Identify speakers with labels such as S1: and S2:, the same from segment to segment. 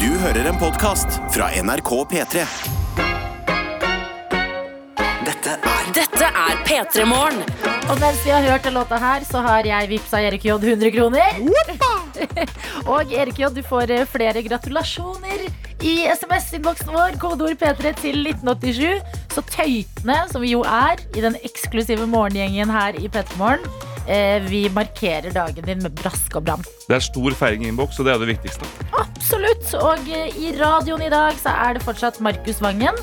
S1: Du hører en podcast fra NRK P3. Dette er
S2: Dette er P3 Morgen.
S3: Og mens vi har hørt den låta her, så har jeg vippsa Erik J 100 kroner. Og Erik J, du får eh, flere gratulasjoner i SMS-innboksen vår. Kodeord P3 til 1987. Så tøytene, som vi jo er i den eksklusive morgengjengen her i P3 Morgen, eh, vi markerer dagen din med brask og bram.
S4: Det er stor feiring i innboks, og det er det viktigste.
S3: Absolutt. Og eh, i radioen i dag så er det fortsatt Markus Vangen.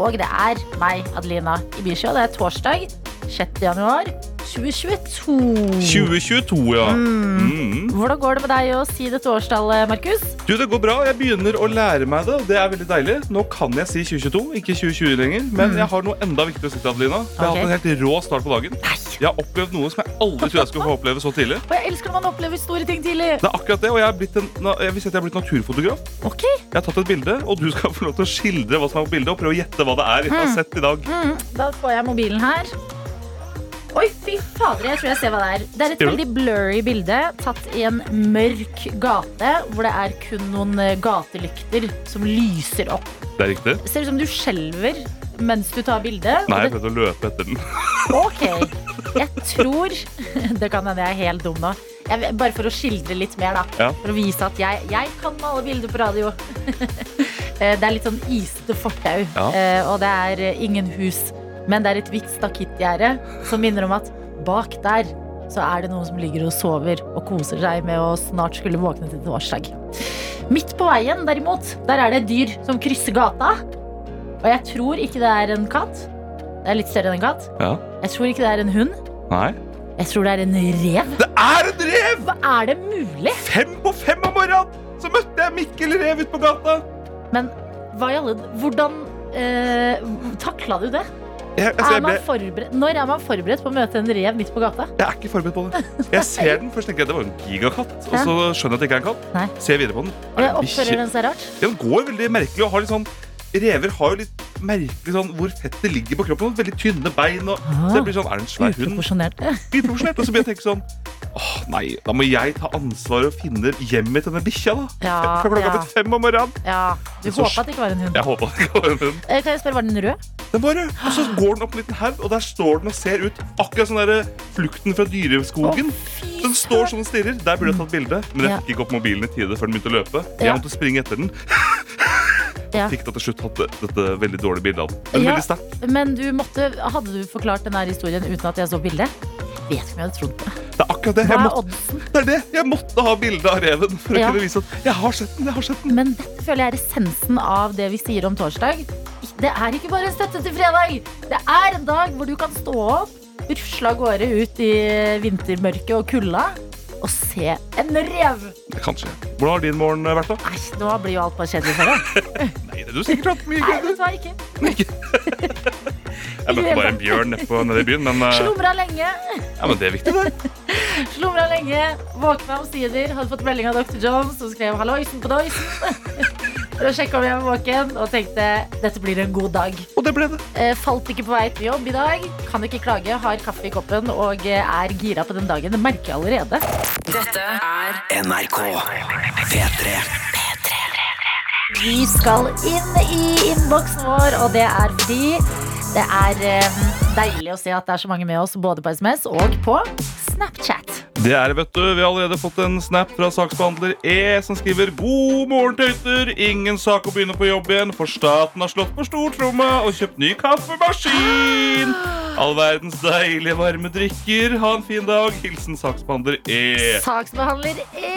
S3: Og det er meg, Adelina Ibisha. Det er torsdag 6. januar 2022.
S4: 2022, ja. Mm.
S3: Hvordan går det med deg og si dette årstallet, Markus?
S4: Du, det går bra. Jeg begynner å lære meg det, og det er veldig deilig. Nå kan jeg si 2022, ikke 2020 lenger. Men jeg har noe enda viktigere å si til Adelina. Jeg har
S3: Ok.
S4: hatt en helt rå start på dagen. Jeg har opplevd noe som jeg aldri trodde jeg skulle få oppleve så tidlig.
S3: Og jeg elsker når man opplever store ting tidlig.
S4: Det er akkurat det, og jeg, er blitt en, na- jeg vil si at jeg er blitt naturfotograf.
S3: Ok,
S4: Jeg har tatt et bilde, og du skal få lov til å skildre hva som er på bildet, og prøve å gjette hva det er jeg har sett i dag.
S3: Da får jeg mobilen her. Oi, fy fader, jeg tror jeg ser hva det er. Det er et
S4: Ser du?
S3: veldig blurry bilde tatt i en mørk gate hvor det er kun noen eh, gatelykter som lyser opp.
S4: Det er riktig.
S3: Det ser ut som du skjelver mens du tar bildet.
S4: Nei, jeg
S3: det,
S4: prøvde å løpe etter den.
S3: ok, jeg tror Det kan hende jeg er helt dum nå. Jeg, bare for å skildre litt mer, da.
S4: Ja.
S3: For å vise at jeg, jeg kan male bilder på radio. Eh, det er litt sånn isete fortau,
S4: Ja.
S3: eh, og det er eh, ingen hus. Men det er et hvitt stakittgjerde som minner om at bak der så er det noen som ligger og sover og koser seg med å snart skulle våkne til torsdag. Midt på veien, derimot, der er det et dyr som krysser gata. Og jeg tror ikke det er en katt. Det er litt større enn en katt.
S4: Ja.
S3: Jeg tror ikke det er en hund.
S4: Nei.
S3: Jeg tror det er en rev.
S4: Det er en rev!
S3: Hva er det mulig?
S4: Fem på fem om morgenen så møtte jeg Mikkel Rev ute på gata.
S3: Men hva i alle Hvordan eh, takla du det?
S4: Jeg, altså,
S3: Er
S4: jeg, ble,
S3: man forberedt, når er man forberedt på å møte en rev midt på gata?
S4: jeg er ikke forberedt på det. Jeg ser den, først tenker jeg det var en gigakatt. Og så skjønner jeg at det ikke er en katt.
S3: Nei.
S4: Ser videre på den. Er det
S3: Eller
S4: en bikkje?
S3: Oppfører den seg rart?
S4: Den går veldig merkelig og har litt sånn Rever har jo litt merkelig sånn hvor fettet ligger på kroppen. og Veldig tynne bein. Og,
S3: Ah.
S4: så jeg blir sånn, Er det en svær hund?
S3: Uproporsjonert.
S4: Uproporsjonert. Og så blir jeg tenke sånn Åh, nei, da må jeg ta ansvaret og finne hjemmet til denne bikkja, da.
S3: Ja,
S4: For klokka
S3: ja.
S4: er blitt fem om morgenen.
S3: Ja, du
S4: Så-
S3: håpa at det ikke var en hund.
S4: Jeg håper det ikke var en hund.
S3: Eh, Kan jeg spørre, Var den rød?
S4: Den bare, og så går den opp en liten haug, og der står den og ser ut. Akkurat sånn der flukten fra dyreskogen. Den står sånn og stirrer. Der burde jeg tatt bilde, men jeg
S3: Mm. Ja.
S4: fikk ikke opp mobilen i tide før den begynte å løpe.
S3: Ja.
S4: Jeg måtte springe etter den.
S3: Ja.
S4: Fikk da til slutt hatt det- dette veldig dårlige bildet av den. Men
S3: Ja.
S4: veldig sterkt.
S3: Men du måtte, hadde du forklart denne historien uten at jeg så bildet? Vet ikke om jeg hadde trodd på det.
S4: Det er akkurat det.
S3: Hva
S4: Jeg
S3: er
S4: måtte,
S3: oddsen?
S4: det er det. Jeg måtte ha bilde av reven for å
S3: Ja.
S4: kunne vise at jeg har sett den. jeg har sett den.
S3: Men dette føler jeg er essensen av det vi sier om torsdag. Det er ikke bare en støtte til fredag. Det er en dag hvor du kan stå opp, rusle av gårde ut i vintermørket og kulda og se en rev.
S4: Kanskje. Hvordan har din morgen eh, vært, da?
S3: Nei, nå blir jo alt bare kjedelig for deg.
S4: Nei, det er du sikkert hatt mye
S3: Nei,
S4: gøy.
S3: vet du hva, ikke.
S4: Jeg møtte bare en bjørn nedpå nede i byen, men, eh,
S3: Slumra lenge.
S4: ja, men det er viktig, det.
S3: Slumra lenge, våkna omsider, hadde fått melding av Dr. Jones som skrev 'halloisen på doisen'. For å sjekke om jeg var våken, og tenkte dette blir en god dag.
S4: Og det ble det.
S3: Eh, Falt ikke på vei til jobb i dag, kan ikke klage, har kaffe i koppen og eh, er gira på den dagen. Det merker jeg allerede.
S2: Dette er
S1: NRK P3.
S3: Vi skal inn i innboksen vår, og det er fordi det er eh, deilig å se at det er så mange med oss både på SMS og på Snapchat.
S4: Det er det, vet du. Vi har allerede fått en snap fra saksbehandler E, som skriver God morgen, tøyter. Ingen sak å begynne på jobb igjen, for staten har slått på stortromma og kjøpt ny kaffemaskin. All verdens deilige varme drikker. Ha en fin dag. Hilsen saksbehandler E.
S3: Saksbehandler E.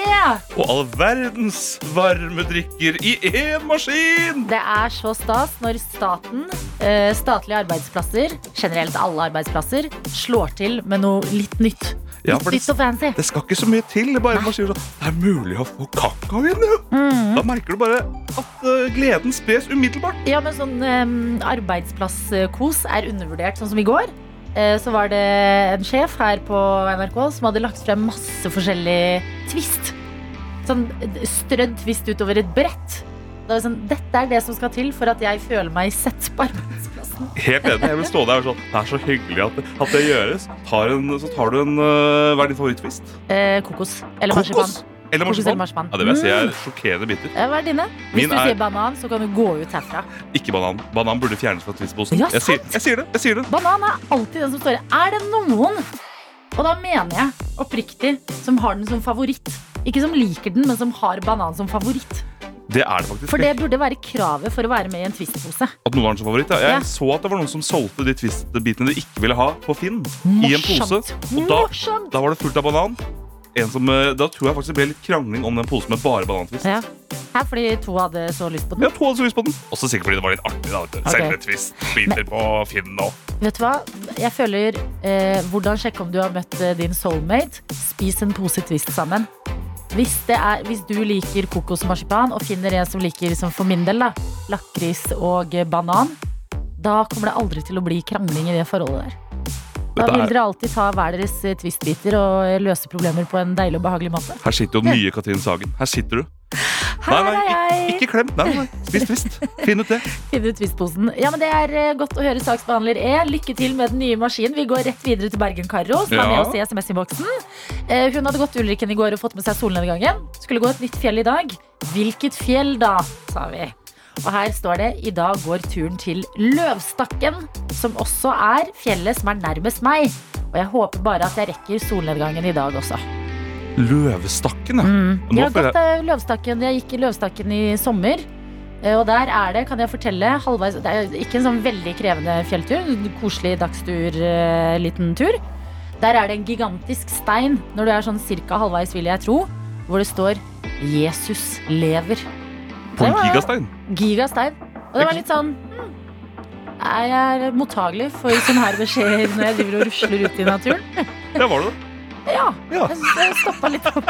S4: Og all verdens varme drikker i én maskin.
S3: Det er så stas når staten, eh, statlige arbeidsplasser, generelt alle arbeidsplasser, slår til med noe litt nytt. Litt
S4: Ja, for det-
S3: nytt og fancy.
S4: Det skal ikke så mye til. Det bare man sier sånn Det er mulig å få kakao igjen, jo. Da merker du bare at eh, gleden spres umiddelbart.
S3: Ja, men sånn eh, arbeidsplasskos er undervurdert, sånn som i går. eh, Så var det en sjef her på NRK som hadde lagt frem masse forskjellig twist. Sånn eh, strødd twist utover et brett. Det var sånn, Dette er det som skal til for at jeg føler meg sett på arbeidsplassen.
S4: Helt enig. Jeg vil stå der og sånn Det er så hyggelig at, at det gjøres. Tar en, så tar du en øh, Hva er din favorittfist?
S3: Eh, kokos. Eller marsipan.
S4: Eller
S3: Kokos eller marsipan.
S4: marsipan.
S3: Mm.
S4: Ja, det vil jeg si er sjokkerende bitter.
S3: Eh, Hva er dine? Hvis
S4: Min
S3: du
S4: er-
S3: sier banan, så kan du gå ut herfra.
S4: Ikke banan. Banan burde fjernes fra Twist-posen.
S3: Ja,
S4: jeg, sier,
S3: sant.
S4: jeg sier det! jeg sier det
S3: Banan er alltid den som står i. Er det noen, og da mener jeg oppriktig, som har den som favoritt? Ikke som liker den, men som har banan som favoritt.
S4: Det er det faktisk.
S3: For det burde være kravet for å være med i en twistpose.
S4: At noen har den som favoritt. Ja.
S3: Ja.
S4: Jeg så at det var noen som solgte de Twist-bitene de ikke ville ha, på Finn. I en pose.
S3: Morsomt.
S4: Og da,
S3: Morsomt.
S4: da var det fullt av banan. En som, eh, da tror jeg faktisk det ble litt krangling om den posen med bare banantwist.
S3: Ja. Her fordi to hadde så lyst på den.
S4: Ja, to hadde så lyst på den. Også sikkert fordi det var litt artig. da, vet du.
S3: Ok.
S4: Selve Twist-biter på Finn nå.
S3: Vet du hva? Jeg føler eh, Hvordan sjekke om du har møtt eh, din soulmate? Spis en pose Twist sammen. Hvis, det er, hvis du liker kokosmarsipan og finner en som liker som for min del da, lakris og eh, banan, da kommer det aldri til å bli krangling i det forholdet der. Da
S4: Dette
S3: vil
S4: er-
S3: dere alltid ta hver deres eh, Twist-biter og eh, løse problemer på en deilig og behagelig måte.
S4: Her sitter jo den nye Katrin Sagen. Her sitter du. Nei,
S3: Her
S4: nei,
S3: er
S4: ikke,
S3: jeg!
S4: ikke klem. Nei, nei, Spis Twist. Finn ut det.
S3: Finner ut Twist-posen. Ja, men Det er eh, godt å høre saksbehandler E. Lykke til med den nye maskinen. Vi går rett videre til Bergen-Karo, som er
S4: Ja.
S3: med oss i SMS-innboksen. Eh, Hun hadde gått Ulriken i går og fått med seg solnedgangen. Skulle gå et nytt fjell i dag. Hvilket fjell da, sa vi. Og her står det i dag går turen til Løvstakken, som også er fjellet som er nærmest meg. Og jeg håper bare at jeg rekker solnedgangen i dag også.
S4: Løvestakken, ja. Nå
S3: Jeg har
S4: føler
S3: gått eh, Løvstakken, jeg gikk i Løvstakken i sommer. eh, Og der er det, kan jeg fortelle, halvveis Det er ikke en sånn veldig krevende fjelltur. en Koselig dagstur, eh, liten tur. Der er det en gigantisk stein når du er sånn cirka halvveis, vil jeg tro, hvor det står 'Jesus lever'.
S4: På
S3: Det
S4: en
S3: var-
S4: gigastein.
S3: Gigastein. Og det var litt sånn hmm, Jeg er mottagelig for sånne her beskjeder når jeg driver og rusler ut i naturen.
S4: Ja, var det det?
S3: Ja.
S4: Ja.
S3: Jeg, jeg stoppa litt opp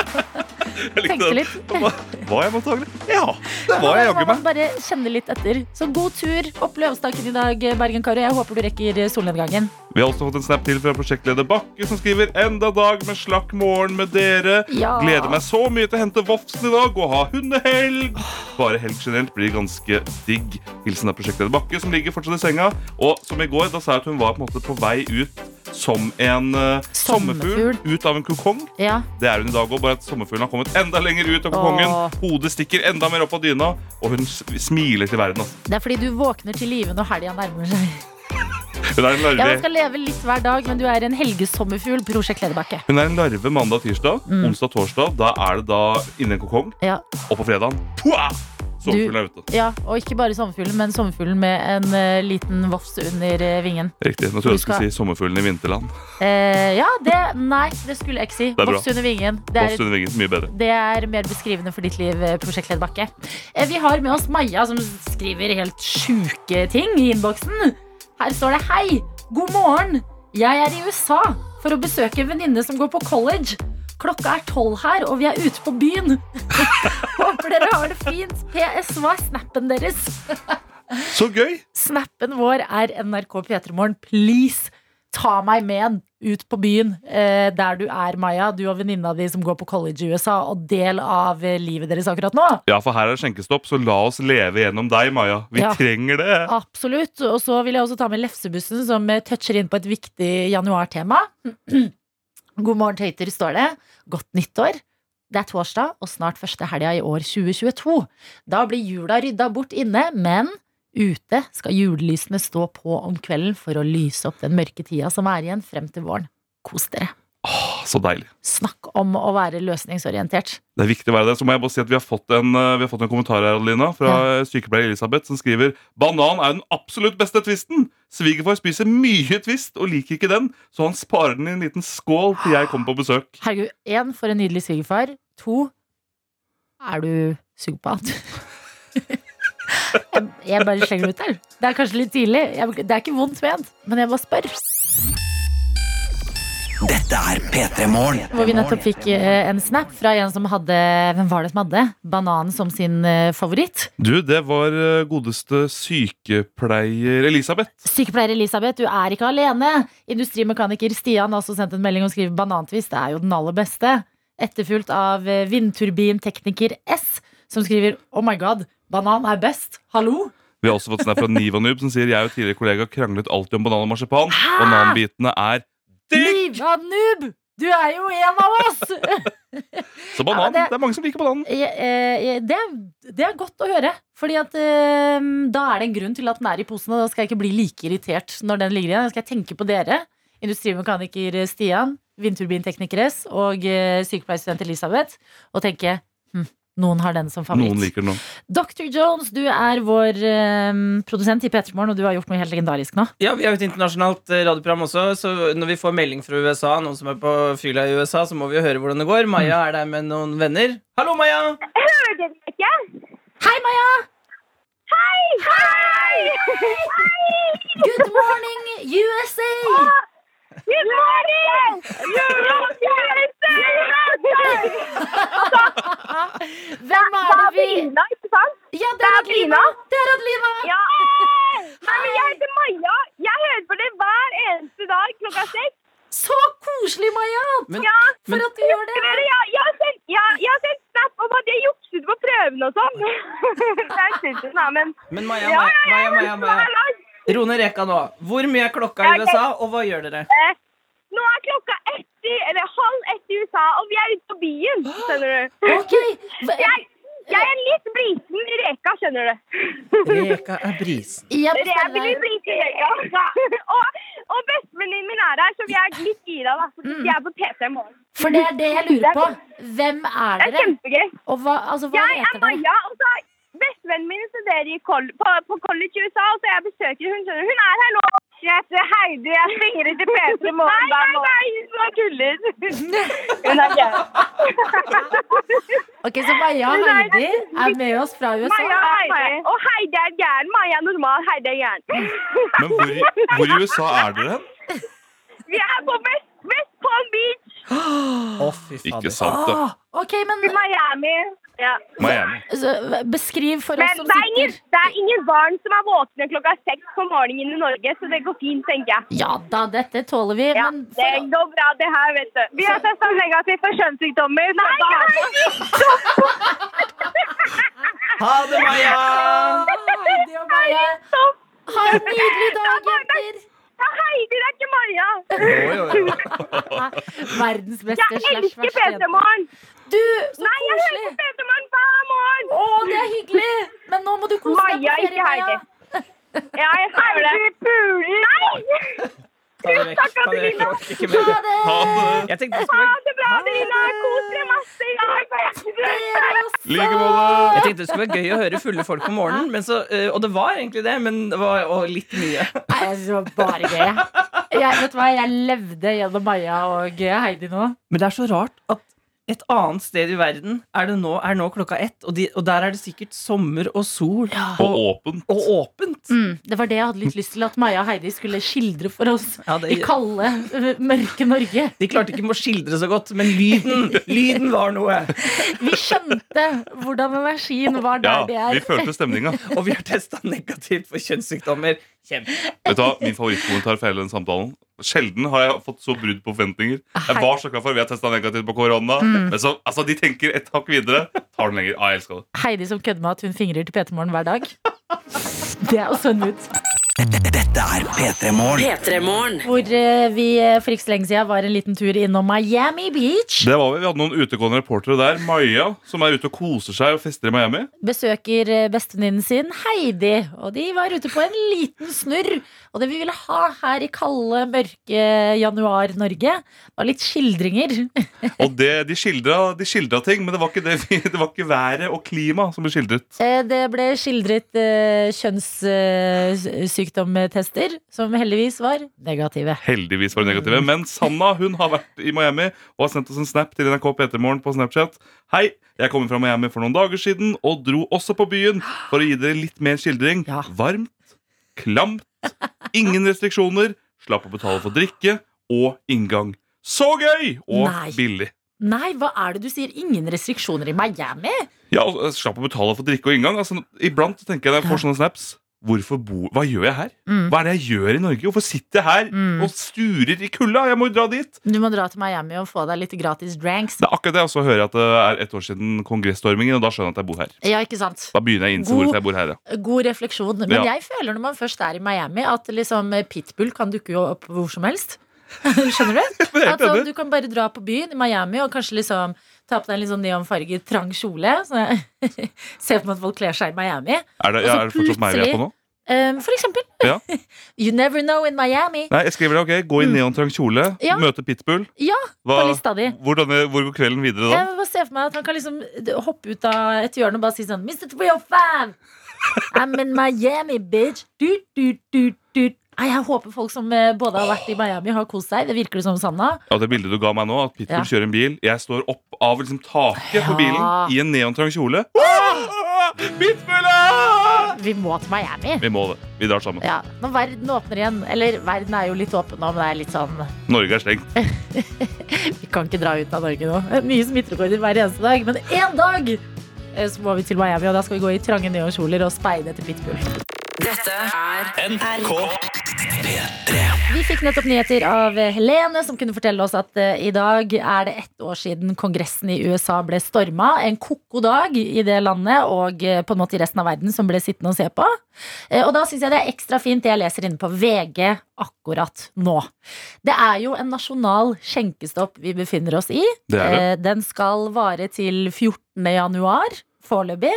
S4: Jeg likte
S3: Tenkte
S4: det.
S3: litt.
S4: Hva- Var jeg mottagelig? Ja, det var jeg
S3: Da må
S4: jaggu meg.
S3: man bare kjenne litt etter. Så god tur opp Løvstakken i dag, Bergen-Karo. Jeg håper du rekker solnedgangen.
S4: Vi har også fått en snap til fra prosjektleder Bakke, som skriver enda dag med slakk morgen med dere.
S3: Ja.
S4: Gleder meg så mye til å hente Vofsen i dag og ha hundehelg. Bare helg generelt blir ganske digg. Hilsen av prosjektleder Bakke, som ligger fortsatt i senga. Og som i går, da sa jeg at hun var på en måte på vei ut som en eh, sommerfugl
S3: Sommerfugl.
S4: ut av en kokong.
S3: Ja.
S4: Det er hun i dag òg, bare at sommerfuglen har kommet enda lenger ut av kokongen.
S3: Åh.
S4: Hodet stikker enda mer opp av dyna, og hun s- smiler til verden. Altså.
S3: Det er fordi du våkner til live når helga nærmer seg.
S4: Hun er en
S3: Ja, Man
S4: larve,
S3: skal leve litt hver dag, men du er en helgesommerfugl, prosjekt Lederbakke.
S4: hun er en larve mandag og tirsdag.
S3: Mm.
S4: Onsdag og torsdag da er det da inni en kokong.
S3: Ja.
S4: Og på fredagen pua, sommerfuglen er ute.
S3: ja, og ikke bare sommerfuglen, men sommerfuglen med en eh, liten vofs under eh, vingen.
S4: Riktig. Nå trodde jeg
S3: Du
S4: du skulle
S3: skal-
S4: si sommerfuglen i vinterland.
S3: Eh, ja, det Nei, det skulle jeg ikke si.
S4: er bra.
S3: Vofs under vingen. Det er
S4: Vofs under vingen, mye bedre.
S3: Det er mer beskrivende for ditt liv, eh, prosjekt Ledbakke. Eh, Vi har med oss Maja, som skriver helt sjuke ting i innboksen. Her står det 'Hei, god morgen. Jeg er i USA for å besøke en venninne som går på college. Klokka er tolv her, og vi er ute på byen. Håper dere har det fint. PS, hva er snappen deres?
S4: Så gøy!
S3: Snappen vår er NRK P3morgen. Please, ta meg med ut på byen eh, der du er, Maja. Du og venninna di som går på college i USA, og del av eh, livet deres akkurat nå.
S4: Ja, for her er det skjenkestopp, så la oss leve gjennom deg, Maja. Vi
S3: Ja.
S4: trenger det.
S3: Absolutt. Og så vil jeg også ta med Lefsebussen, som eh, toucher inn på et viktig januartema. God morgen, tøyter, står det. Godt nyttår. Det er torsdag, og snart første helga i år 2022. Da blir jula rydda bort inne, men ute skal julelysene stå på om kvelden for å lyse opp den mørke tida som er igjen frem til våren. Kos dere.
S4: Åh, så deilig.
S3: Snakk om å være løsningsorientert.
S4: Det er viktig å være det. Så må jeg bare si at vi har fått en, eh, vi har fått en kommentar her, Adelina, fra eh, sykepleier Elisabeth, som skriver Banan er den absolutt beste twisten. Svigerfar spiser mye twist og liker ikke den, så han sparer den i en liten skål til jeg kommer på besøk.
S3: Herregud, én for en nydelig svigerfar. To er du psykopat? jeg, jeg bare slenger det ut der. Det er kanskje litt tidlig. Jeg, det er ikke vondt ment, men jeg bare spør.
S1: Dette er P3 Morgen.
S3: Hvor vi nettopp fikk eh, en snap fra en som hadde Hvem var det som hadde? Bananen som sin eh, favoritt.
S4: Du, det var eh, godeste sykepleier Elisabeth.
S3: Sykepleier Elisabeth, du er ikke alene. Industrimekaniker Stian har også sendt en melding og skriver banantvist det er jo den aller beste. Etterfulgt av eh, vindturbintekniker S, som skriver Oh my god, banan er best. Hallo?
S4: Vi har også fått snap fra Nivanub, som sier jeg og tidligere kollega kranglet alltid om banan og marsipan. Bananbitene er digg!
S3: Niva Noob! Du er jo en av oss!
S4: Så
S3: Ja,
S4: banan.
S3: men det-
S4: Det er mange som liker bananen.
S3: Jeg, eh, jeg- det, er- det er godt å høre. Fordi at eh, da er det en grunn til at den er i posen, og da skal jeg ikke bli like irritert når den ligger igjen. Da skal jeg tenke på dere, industrimekaniker Stian, vindturbintekniker S og eh, sykepleierstudent Elisabeth, og tenke hm, noen har den som favoritt.
S4: Noen liker den nå.
S3: Dr. Jones, du er vår eh, produsent i P3 Morgen, og du har gjort noe helt legendarisk nå.
S5: Ja, Vi er jo et internasjonalt eh, radioprogram også, så når vi får melding fra USA, noen som er på fylla i USA, så må vi jo høre hvordan det går. Maja er der med noen venner. Hallo, Maja!
S6: Hører dere meg ikke?
S3: Hei, Maja!
S6: Hei! Hei!
S3: Good morning, USA!
S6: Good morning! Europe!
S3: Hvem er det vi
S6: Adelina, ikke sant?
S3: Ja, det er Adelina! Det er Adelina!
S6: Ja! Nei, men jeg heter Maja. Jeg hører på det hver eneste dag klokka seks.
S3: Så koselig, Maja!
S5: Men-
S6: Ja,
S3: For at du gjør det!
S6: dere, jeg, jeg, har sendt, jeg, jeg har sendt snap om at jeg jukset på prøven og sånn. Det er synd, da, men
S5: Men Maja,
S6: Ja,
S5: Maja, Maja,
S6: ja, jeg
S5: Maja,
S6: jukset
S5: Maja.
S6: hver dag.
S5: Rone Reka nå. Hvor mye er klokka i
S6: Ja, ok.
S5: USA, og hva gjør dere?
S6: Eh, Nå er klokka ett i, eller halv ett i USA, og vi er ute på byen, skjønner du.
S3: Ok, hva-
S6: Jeg, jeg er litt brisen i reka, skjønner du.
S5: Reka er brisen.
S3: jeg
S6: Jeg blir
S3: bestiller
S6: litt brisen i reka. og og bestevenninnen min er her, så vi er litt gira, da. Fordi vi er på P3 i morgen.
S3: For det er det jeg lurer på. Hvem er
S6: Det er
S3: dere?
S6: kjempegøy.
S3: Og hva, altså, hva
S6: Jeg er
S3: heter dere?
S6: Maja, og så er bestevennen min studerer i col på, på college i USA, og så jeg besøker hun, skjønner du. Hun er her nå. Jeg heter Heidi, jeg svinger til P3 i morgen hver morgen. Nei, nei, nei, hun tuller. Hun er gæren.
S3: Ok, Så Maja og
S6: Nei,
S3: Heidi er med oss fra
S6: Maja
S3: USA.
S6: og Heidi. Og Heidi er gæren. Maja er normal, Heidi er gæren.
S4: Men hvor, i- hvor i USA er dere hen?
S6: Vi er på West, West Palm Beach
S5: Å, fy
S4: Ikke
S5: fader.
S4: sant, da.
S3: Ok, men
S6: i Miami. Ja.
S4: Miami.
S3: altså, Beskriv for
S6: Men
S3: oss som
S6: det er, ingen,
S3: sitter
S6: det er ingen barn som er våkne klokka seks på morgenen i Norge, så det går fint, tenker jeg.
S3: Ja da, dette tåler vi.
S6: Ja,
S3: Men
S6: det
S3: for,
S6: går bra, det her, vet du. Vi har testa negativt for kjønnssykdommer. Nei, nei,
S5: Ha det, Maja!
S3: Ah, Heidi og Maja,
S6: stopp!
S3: ha en nydelig dag, jenter!
S6: Det er Heidi, det er ikke Maja.
S5: Jo, jo, jo.
S3: Verdens beste
S6: Jeg
S3: slash
S6: elsker
S3: verste jente.
S6: P3morgen.
S3: Du, så
S6: Nei, jeg hører
S3: koselig!
S6: på P3morgen hver morgen.
S3: Å, det er hyggelig! Men nå må du kose deg
S6: Maja,
S3: på ferie,
S6: ikke
S3: Maja.
S6: Heidi. Ja, jeg hører det. Heidi puler. Nei!
S5: Ta det vekk. Ta det vekk. Jeg orker ikke mer.
S3: Ha det!
S4: Ha det.
S5: Jeg tenkte,
S6: Ha
S5: det
S6: det bra, Adelina. Kos deg masse i dag.
S3: Dere også.
S4: Like måte.
S5: jeg tenkte det skulle være gøy å høre fulle folk om morgenen, men så, eh, og det var egentlig det, men det var og litt mye.
S3: Nei, jeg synes det var bare gøy. jeg. Jeg, vet du hva, jeg levde gjennom Maja og Heidi nå.
S5: Men det er så rart at et annet sted i verden er det nå, er nå klokka ett, og, de, og der er det sikkert sommer og sol
S4: Og
S5: og,
S4: åpen.
S5: og åpent.
S4: Mm.
S3: Mm, det var det jeg hadde litt lyst til at Maja og Heidi skulle skildre for oss
S5: Ja,
S3: i
S5: det,
S3: kalde, ø, mørke Norge.
S5: de klarte ikke å skildre så godt, men lyden, lyden var noe.
S3: Vi skjønte hvordan energien var
S4: Ja,
S3: der de
S4: vi
S3: er.
S4: følte stemninga.
S5: Og vi har testa negativt for kjønnssykdommer. Kjempe.
S4: Vet du hva, Min favorittkommentar fra hele den samtalen. Sjelden har jeg fått så brudd på forventninger. Jeg var så klar for Vi har testa negativt på korona.
S3: Mm.
S4: Men så, altså, de tenker et hakk videre. Tar den lenger. Ah, jeg elsker det.
S3: Heidi som kødder med at hun fingrer til PT-morgen hver dag. Det er jo sånn ut.
S2: P3-morgen.
S3: Hvor ø, vi ø, for ikke så lenge siden var en liten tur innom Miami Beach.
S4: Det var Vi Vi hadde noen utegående reportere der. Maja, som er ute og koser seg og fester i Miami.
S3: besøker eh, bestevenninnen sin Heidi. Og de var ute på en liten snurr. Og det vi ville ha her i kalde, mørke januar-Norge, var litt skildringer.
S4: Og det, de, skildra, de skildra ting, men det var ikke, det, vi- det var ikke været og klima som ble skildret.
S3: Eh, Det ble skildret eh, kjønnssykdomstester, som heldigvis var negative.
S4: Heldigvis var det negative. Men Sanna hun har vært i Miami og har sendt oss en snap til NRK P3morgen på Snapchat. Hei, jeg kommer fra Miami for noen dager siden og dro også på byen for å gi dere litt mer skildring.
S3: Ja.
S4: Varmt, klamt, ingen restriksjoner, slapp å betale for drikke og inngang. Så gøy! Og
S3: Nei.
S4: billig.
S3: Nei, hva er det du sier? Ingen restriksjoner i Miami?
S4: Ja, og eh, slapp å betale for drikke og inngang. Altså, iblant så tenker jeg når jeg får sånne snaps. Hvorfor bo, Hva gjør jeg her?
S3: Mm.
S4: Hva er det jeg gjør i Norge? Hvorfor sitter jeg her
S3: Mm.
S4: og sturer i kulda? Jeg må jo dra dit.
S3: Du må dra til Miami og få deg litt gratis dranks.
S4: Det er akkurat det. Og så hører jeg at det er ett år siden kongresstormingen, og da skjønner jeg at jeg bor her.
S3: Ja, ikke sant?
S4: Da begynner jeg å innse
S3: God-
S4: hvorfor jeg bor her, ja.
S3: God refleksjon. Men
S4: Ja.
S3: eh, jeg føler når man først er i Miami, at liksom Pitbull kan dukke jo opp hvor som helst. Skjønner du?
S4: Jeg er helt
S3: At sånn,
S4: enig.
S3: du kan bare dra på byen i Miami og kanskje liksom ta på deg en litt sånn neonfarget, trang kjole. Så jeg ser for meg at folk kler seg i Miami.
S4: Er det,
S3: Altså,
S4: ja, er det fortsatt meg vi er på nå?
S3: Um, for eksempel.
S4: Ja.
S3: you never know in Miami.
S4: Nei, jeg skriver det, ok, Gå i neontrang kjole,
S3: Mm. Ja.
S4: møte Pitbull.
S3: Ja,
S4: Hva,
S3: på lista di.
S4: hvordan, hvor går kvelden videre da?
S3: Jeg bare ser for meg at man kan liksom hoppe ut av et hjørne og bare si sånn Mr. 305! I'm in Miami, bitch! Du, du, du, du. Nei, jeg håper folk som eh, både har vært i Miami, har kost seg. Det virker det som Sanna.
S4: Ja, det bildet du ga meg nå, at Pitbull
S3: Ja.
S4: kjører en bil Jeg står opp av liksom taket på
S3: Ja.
S4: bilen i en neontrang kjole. Ah! Pitbull! ah!
S3: Vi må til Miami.
S4: Vi må det. Vi drar sammen.
S3: Ja, Når verden åpner igjen. Eller verden er jo litt åpen nå, men det er litt sånn
S4: Norge er stengt.
S3: Vi kan ikke dra ut av Norge nå. Nye smitterekorder hver eneste dag. Men én dag eh, så må vi til Miami, og da skal vi gå i trange neonkjoler og speide etter pitbull.
S2: Dette er
S3: Vi fikk nettopp nyheter av Helene, som kunne fortelle oss at eh, i dag er det ett år siden Kongressen i USA ble storma. En koko dag i det landet og eh, på en måte i resten av verden som ble sittende og se på. Eh, Og da syns jeg det er ekstra fint det jeg leser inne på VG akkurat nå. Det er jo en nasjonal skjenkestopp vi befinner oss i.
S4: Det er det.
S3: Eh, Den skal vare til 14. januar. Foreløpig.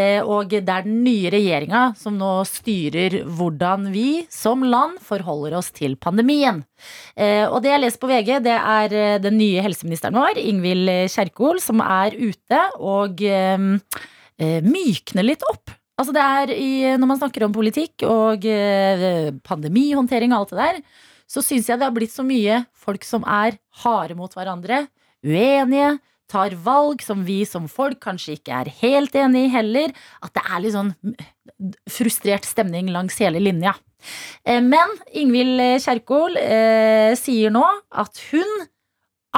S3: Eh, Og det er den nye regjeringa som nå styrer hvordan vi som land forholder oss til pandemien. Eh, Og det jeg leser på VG, det er eh, den nye helseministeren vår, Ingvild Kjerkol, som er ute og eh, eh, mykner litt opp. Altså det er i, Når man snakker om politikk og eh, pandemihåndtering og alt det der, så syns jeg det har blitt så mye folk som er harde mot hverandre, uenige, tar valg som vi som folk kanskje ikke er helt enig i heller. At det er litt sånn frustrert stemning langs hele linja. Eh, Men Ingvild Kjerkol eh, sier nå at hun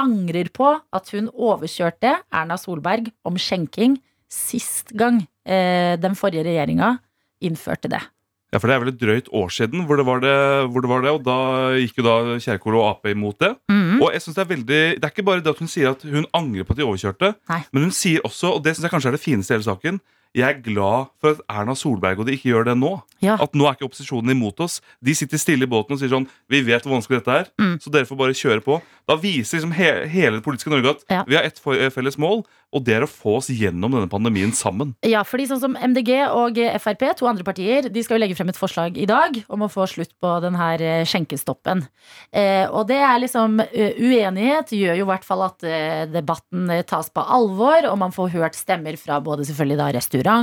S3: angrer på at hun overkjørte Erna Solberg om skjenking sist gang eh, den forrige regjeringa innførte det.
S4: Ja, for det er vel et drøyt år siden hvor det var det, hvor det, var det og da gikk jo da Kjerkol og Ap imot det.
S3: Mhm.
S4: Og jeg synes Det er veldig Det er ikke bare det at hun sier at hun angrer på at de overkjørte,
S3: Nei.
S4: men hun sier også, og det syns jeg kanskje er det fineste i hele saken, jeg er glad for at Erna Solberg og de ikke gjør det nå.
S3: Ja.
S4: At nå er ikke opposisjonen imot oss. De sitter stille i båten og sier sånn Vi vet hvor vanskelig dette er,
S3: Mm.
S4: så dere får bare kjøre på. Da viser liksom he hele det politiske Norge at
S3: Ja.
S4: vi har ett for- eh, felles mål, og det er å få oss gjennom denne pandemien sammen.
S3: Ja, fordi sånn som MDG og Frp, to andre partier, de skal jo legge frem et forslag i dag om å få slutt på den her eh, skjenkestoppen. Eh, og det er liksom eh, Uenighet gjør jo i hvert fall at eh, debatten eh, tas på alvor, og man får hørt stemmer fra både selvfølgelig da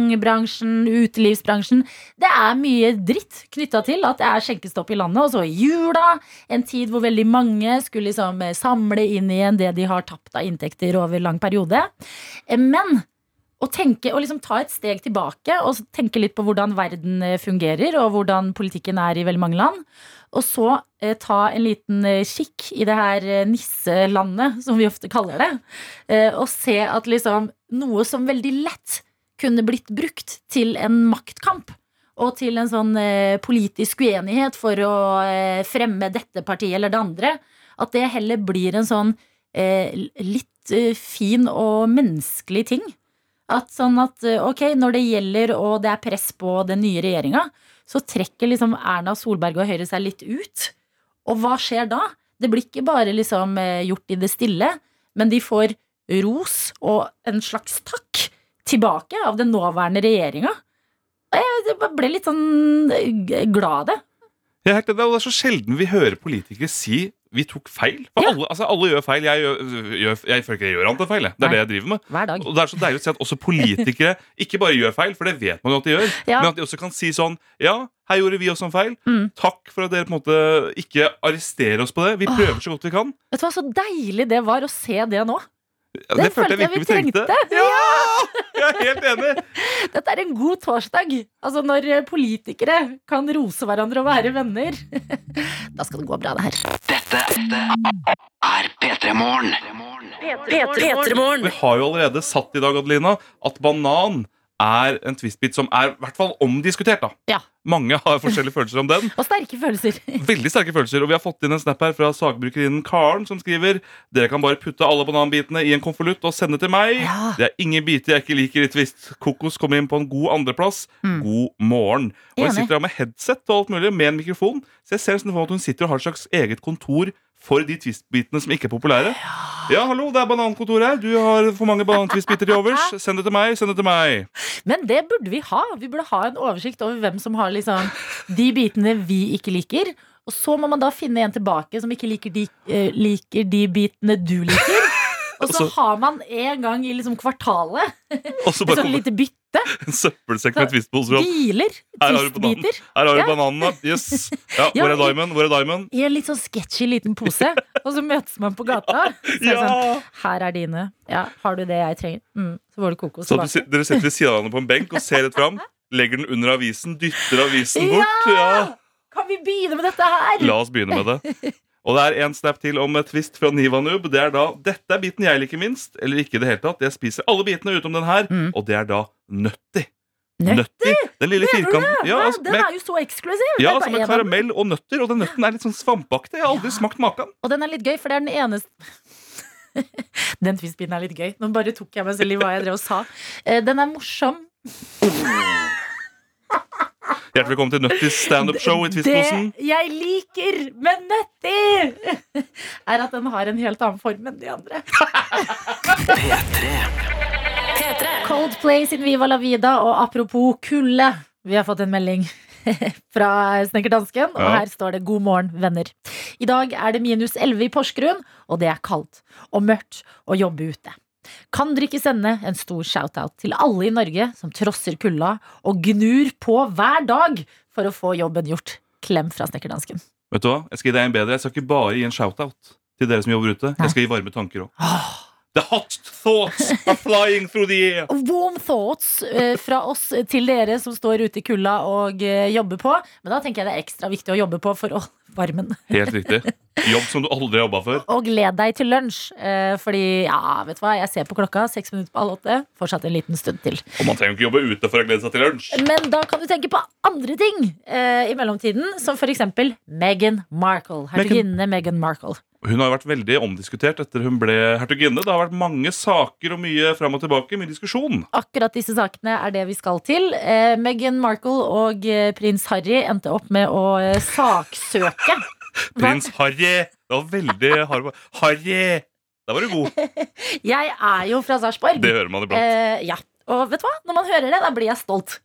S3: restaurantbransjen, utelivsbransjen. Det er mye dritt knytta til at det er skjenkestopp i landet, og så i jula, en tid hvor veldig mange skulle liksom eh, samle inn igjen det de har tapt av inntekter over lang periode. Eh, Men å tenke, og liksom ta et steg tilbake og så tenke litt på hvordan verden eh, fungerer, og hvordan politikken er i veldig mange land. Og så eh, ta en liten eh, kikk i det her eh, nisselandet, som vi ofte kaller det, eh, og se at liksom noe som veldig lett kunne blitt brukt til en maktkamp. Og til en sånn eh, politisk uenighet for å eh, fremme dette partiet eller det andre. At det heller blir en sånn eh, litt eh, fin og menneskelig ting. At sånn at eh, ok, når det gjelder og det er press på den nye regjeringa, så trekker liksom Erna Solberg og Høyre seg litt ut. Og hva skjer da? Det blir ikke bare liksom eh, gjort i det stille, men de får ros og en slags takk tilbake av den nåværende regjeringa. Og Jeg jeg bare ble litt sånn eh, g- glad av det.
S4: Jeg er helt enig, og det er så sjelden vi hører politikere si vi tok feil. For alle, altså, alle gjør feil. Jeg, gjør, gjør, jeg føler ikke jeg gjør annet enn feil. jeg. Det er
S3: Nei.
S4: det jeg driver med.
S3: Hver dag.
S4: Og det er så deilig å se at også politikere ikke bare gjør feil, for det vet man jo at de gjør,
S3: Ja.
S4: men at de også kan si sånn Ja, her gjorde vi også en feil.
S3: Mm.
S4: Takk for at dere på en måte ikke arresterer oss på det. Vi prøver så godt vi kan.
S3: Vet du hva, så deilig det var å se det nå.
S4: Ja,
S3: Den følte jeg vi trengte.
S4: Ja! Jeg er helt enig.
S3: Dette er en god torsdag. Altså når eh, politikere kan rose hverandre og være venner. Da skal det gå bra, det her.
S4: Vi
S2: P3morgen.
S4: har jo allerede satt i dag, Adelina, at banan er en twistbit som er i hvert fall omdiskutert. da
S3: Ja.
S4: Mange har forskjellige følelser om den.
S3: Og sterke følelser.
S4: Veldig sterke følelser, og vi har fått inn en snap her fra sagbrukerinnen Karen, som skriver Dere kan bare putte alle bananbitene i en konvolutt og sende til meg.
S3: Ja.
S4: Det er ingen biter jeg ikke liker i Twist. Kokos kommer inn på en god andreplass. God morgen. Og jeg
S3: Mm. Enig.
S4: sitter her med headset og alt mulig, med en mikrofon, så jeg ser nesten for meg at hun sitter og har et slags eget kontor for de twistbitene som ikke er populære. Ja, hallo, det er banankontor her. Du har for mange banantvistbiter til overs. Send det til meg. Send det til meg.
S3: Men det burde vi ha. Vi burde ha en oversikt over hvem som har liksom de bitene vi ikke liker. Og så må man da finne en tilbake som ikke liker de, eh, liker de bitene du liker. Og så
S4: Og så-
S3: har man en gang i liksom kvartalet
S4: Og så
S3: et
S4: bare
S3: sånt
S4: kommer
S3: lite bytte.
S4: en søppelsekk med twistposer. opp.
S3: Dealer.
S4: Her har du bananen.
S3: Twistbiter.
S4: Her har
S3: Ja.
S4: du bananene. Yes. Ja,
S3: Ja,
S4: hvor er
S3: men-
S4: Diamond? Hvor er Diamond?
S3: I en litt sånn sketchy liten pose. Og så møtes man på gata. Så er det sånn,
S4: Ja!
S3: her er dine. Ja, har du det jeg trenger? Mm. Så får du kokos. tilbake.
S4: Så at du, sit- dere sitter ved siden av hverandre på en benk og ser rett fram. Legger den under avisen, dytter avisen bort. Ja!
S3: Kan vi begynne med dette her?
S4: La oss begynne med det. Og det er en snap til om et twist fra Nivanub. Det er da 'Dette er biten jeg liker minst', eller ikke i det hele tatt. Jeg spiser alle bitene utenom den her,
S3: Mm.
S4: og det er da nøtti.
S3: Nøtti?
S4: Den lille
S3: Mener du
S4: firkanten. Ja, altså,
S3: den
S4: med,
S3: er jo så eksklusiv! Det
S4: ja,
S3: er
S4: altså
S3: bare
S4: med
S3: en av-
S4: karamell og nøtter, og den nøtten er litt sånn svampaktig. Jeg har aldri smakt maken.
S3: Og den er litt gøy, for det er den eneste Den twistbiten er litt gøy. Nå bare tok jeg meg selv i hva jeg drev og sa. Eh, Den er morsom.
S4: Hjertelig velkommen til Nøttis standup-show i Twistposen.
S3: Det jeg liker med nøtti, er at den har en helt annen form enn de andre.
S2: P3.
S3: Coldplay sin Viva la Vida, og apropos kulde, vi har fått en melding fra Snekkerdansken, og
S4: Ja.
S3: her står det 'God morgen, venner'. I dag er det minus 11 i Porsgrunn, og det er kaldt og mørkt å jobbe ute. Kan dere ikke sende en stor shout-out til alle i Norge som trosser kulda og gnur på hver dag for å få jobben gjort? Klem fra Snekkerdansken.
S4: Vet du hva? Jeg skal gi deg en bedre. Jeg skal ikke bare gi en shout-out til dere som jobber ute. Jeg skal gi varme tanker òg. The hot thoughts are flying through the air.
S3: Warm thoughts eh, fra oss til dere som står ute i kulda og eh, jobber på. Men da tenker jeg det er ekstra viktig å jobbe på for å varmen.
S4: Helt riktig. Jobb som du aldri har jobba før.
S3: Og gled deg til lunsj, eh, fordi ja, vet du hva, jeg ser på klokka, seks minutter på halv åtte. Fortsatt en liten stund til.
S4: Og man trenger jo ikke jobbe ute for å glede seg til lunsj.
S3: Men da kan du tenke på andre ting eh, i mellomtiden, som for eksempel Meghan Markle. Hertuginne Meghan Markle.
S4: Hun har vært veldig omdiskutert etter hun ble hertuginne. Det har vært mange saker og mye fram og tilbake. Mye diskusjon.
S3: Akkurat disse sakene er det vi skal til. Eh, Meghan Markle og eh, prins Harry endte opp med å eh, saksøke.
S4: Prins Harry! Det var veldig hard Harry! Der var du god.
S3: Jeg er jo fra Sarpsborg.
S4: Det hører man iblant.
S3: Eh, ja. Og vet du hva? Når man hører det, da blir jeg stolt.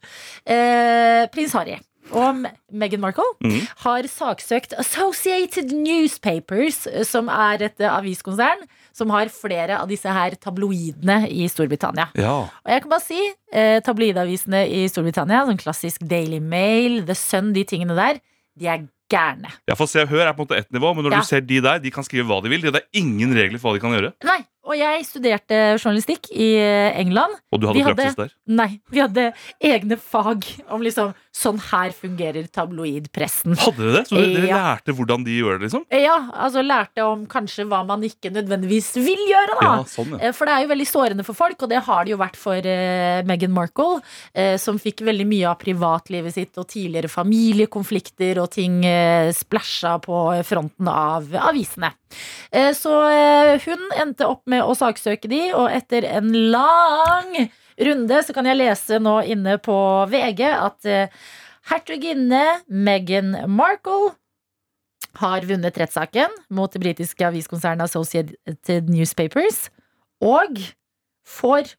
S3: Eh, Prins Harry og Me- Meghan Markle
S4: Mhm.
S3: har saksøkt Associated Newspapers, eh, som er et eh, aviskonsern som har flere av disse her tabloidene i Storbritannia.
S4: Ja.
S3: Og jeg kan bare si, eh, tabloidavisene i Storbritannia, sånn klassisk Daily Mail, The Sun, de tingene der, de er gærne.
S4: Jeg får se og hør er på en måte ett nivå, men når
S3: Ja.
S4: du ser de der, de kan skrive hva de vil. Det er ingen regler for hva de kan gjøre.
S3: Nei, og jeg studerte journalistikk i eh, England.
S4: Og du
S3: Vi
S4: hadde
S3: hadde-
S4: praksis der.
S3: Nei, vi hadde egne fag om liksom Sånn her fungerer tabloidpressen.
S4: Hadde dere det? Så dere, dere
S3: Ja.
S4: lærte hvordan de gjør det, liksom?
S3: Ja, altså lærte om kanskje hva man ikke nødvendigvis vil gjøre, da.
S4: Ja, sånn, ja.
S3: Eh, For det er jo veldig sårende for folk, og det har det jo vært for eh, Meghan Markle, eh, som fikk veldig mye av privatlivet sitt og tidligere familiekonflikter og ting eh, splæsja på fronten av avisene. Eh, så eh, hun endte opp med å saksøke de, og etter en lang runde så kan jeg lese nå inne på VG at eh, hertuginne Meghan Markle har vunnet rettssaken mot det britiske aviskonsernet Associated Newspapers og får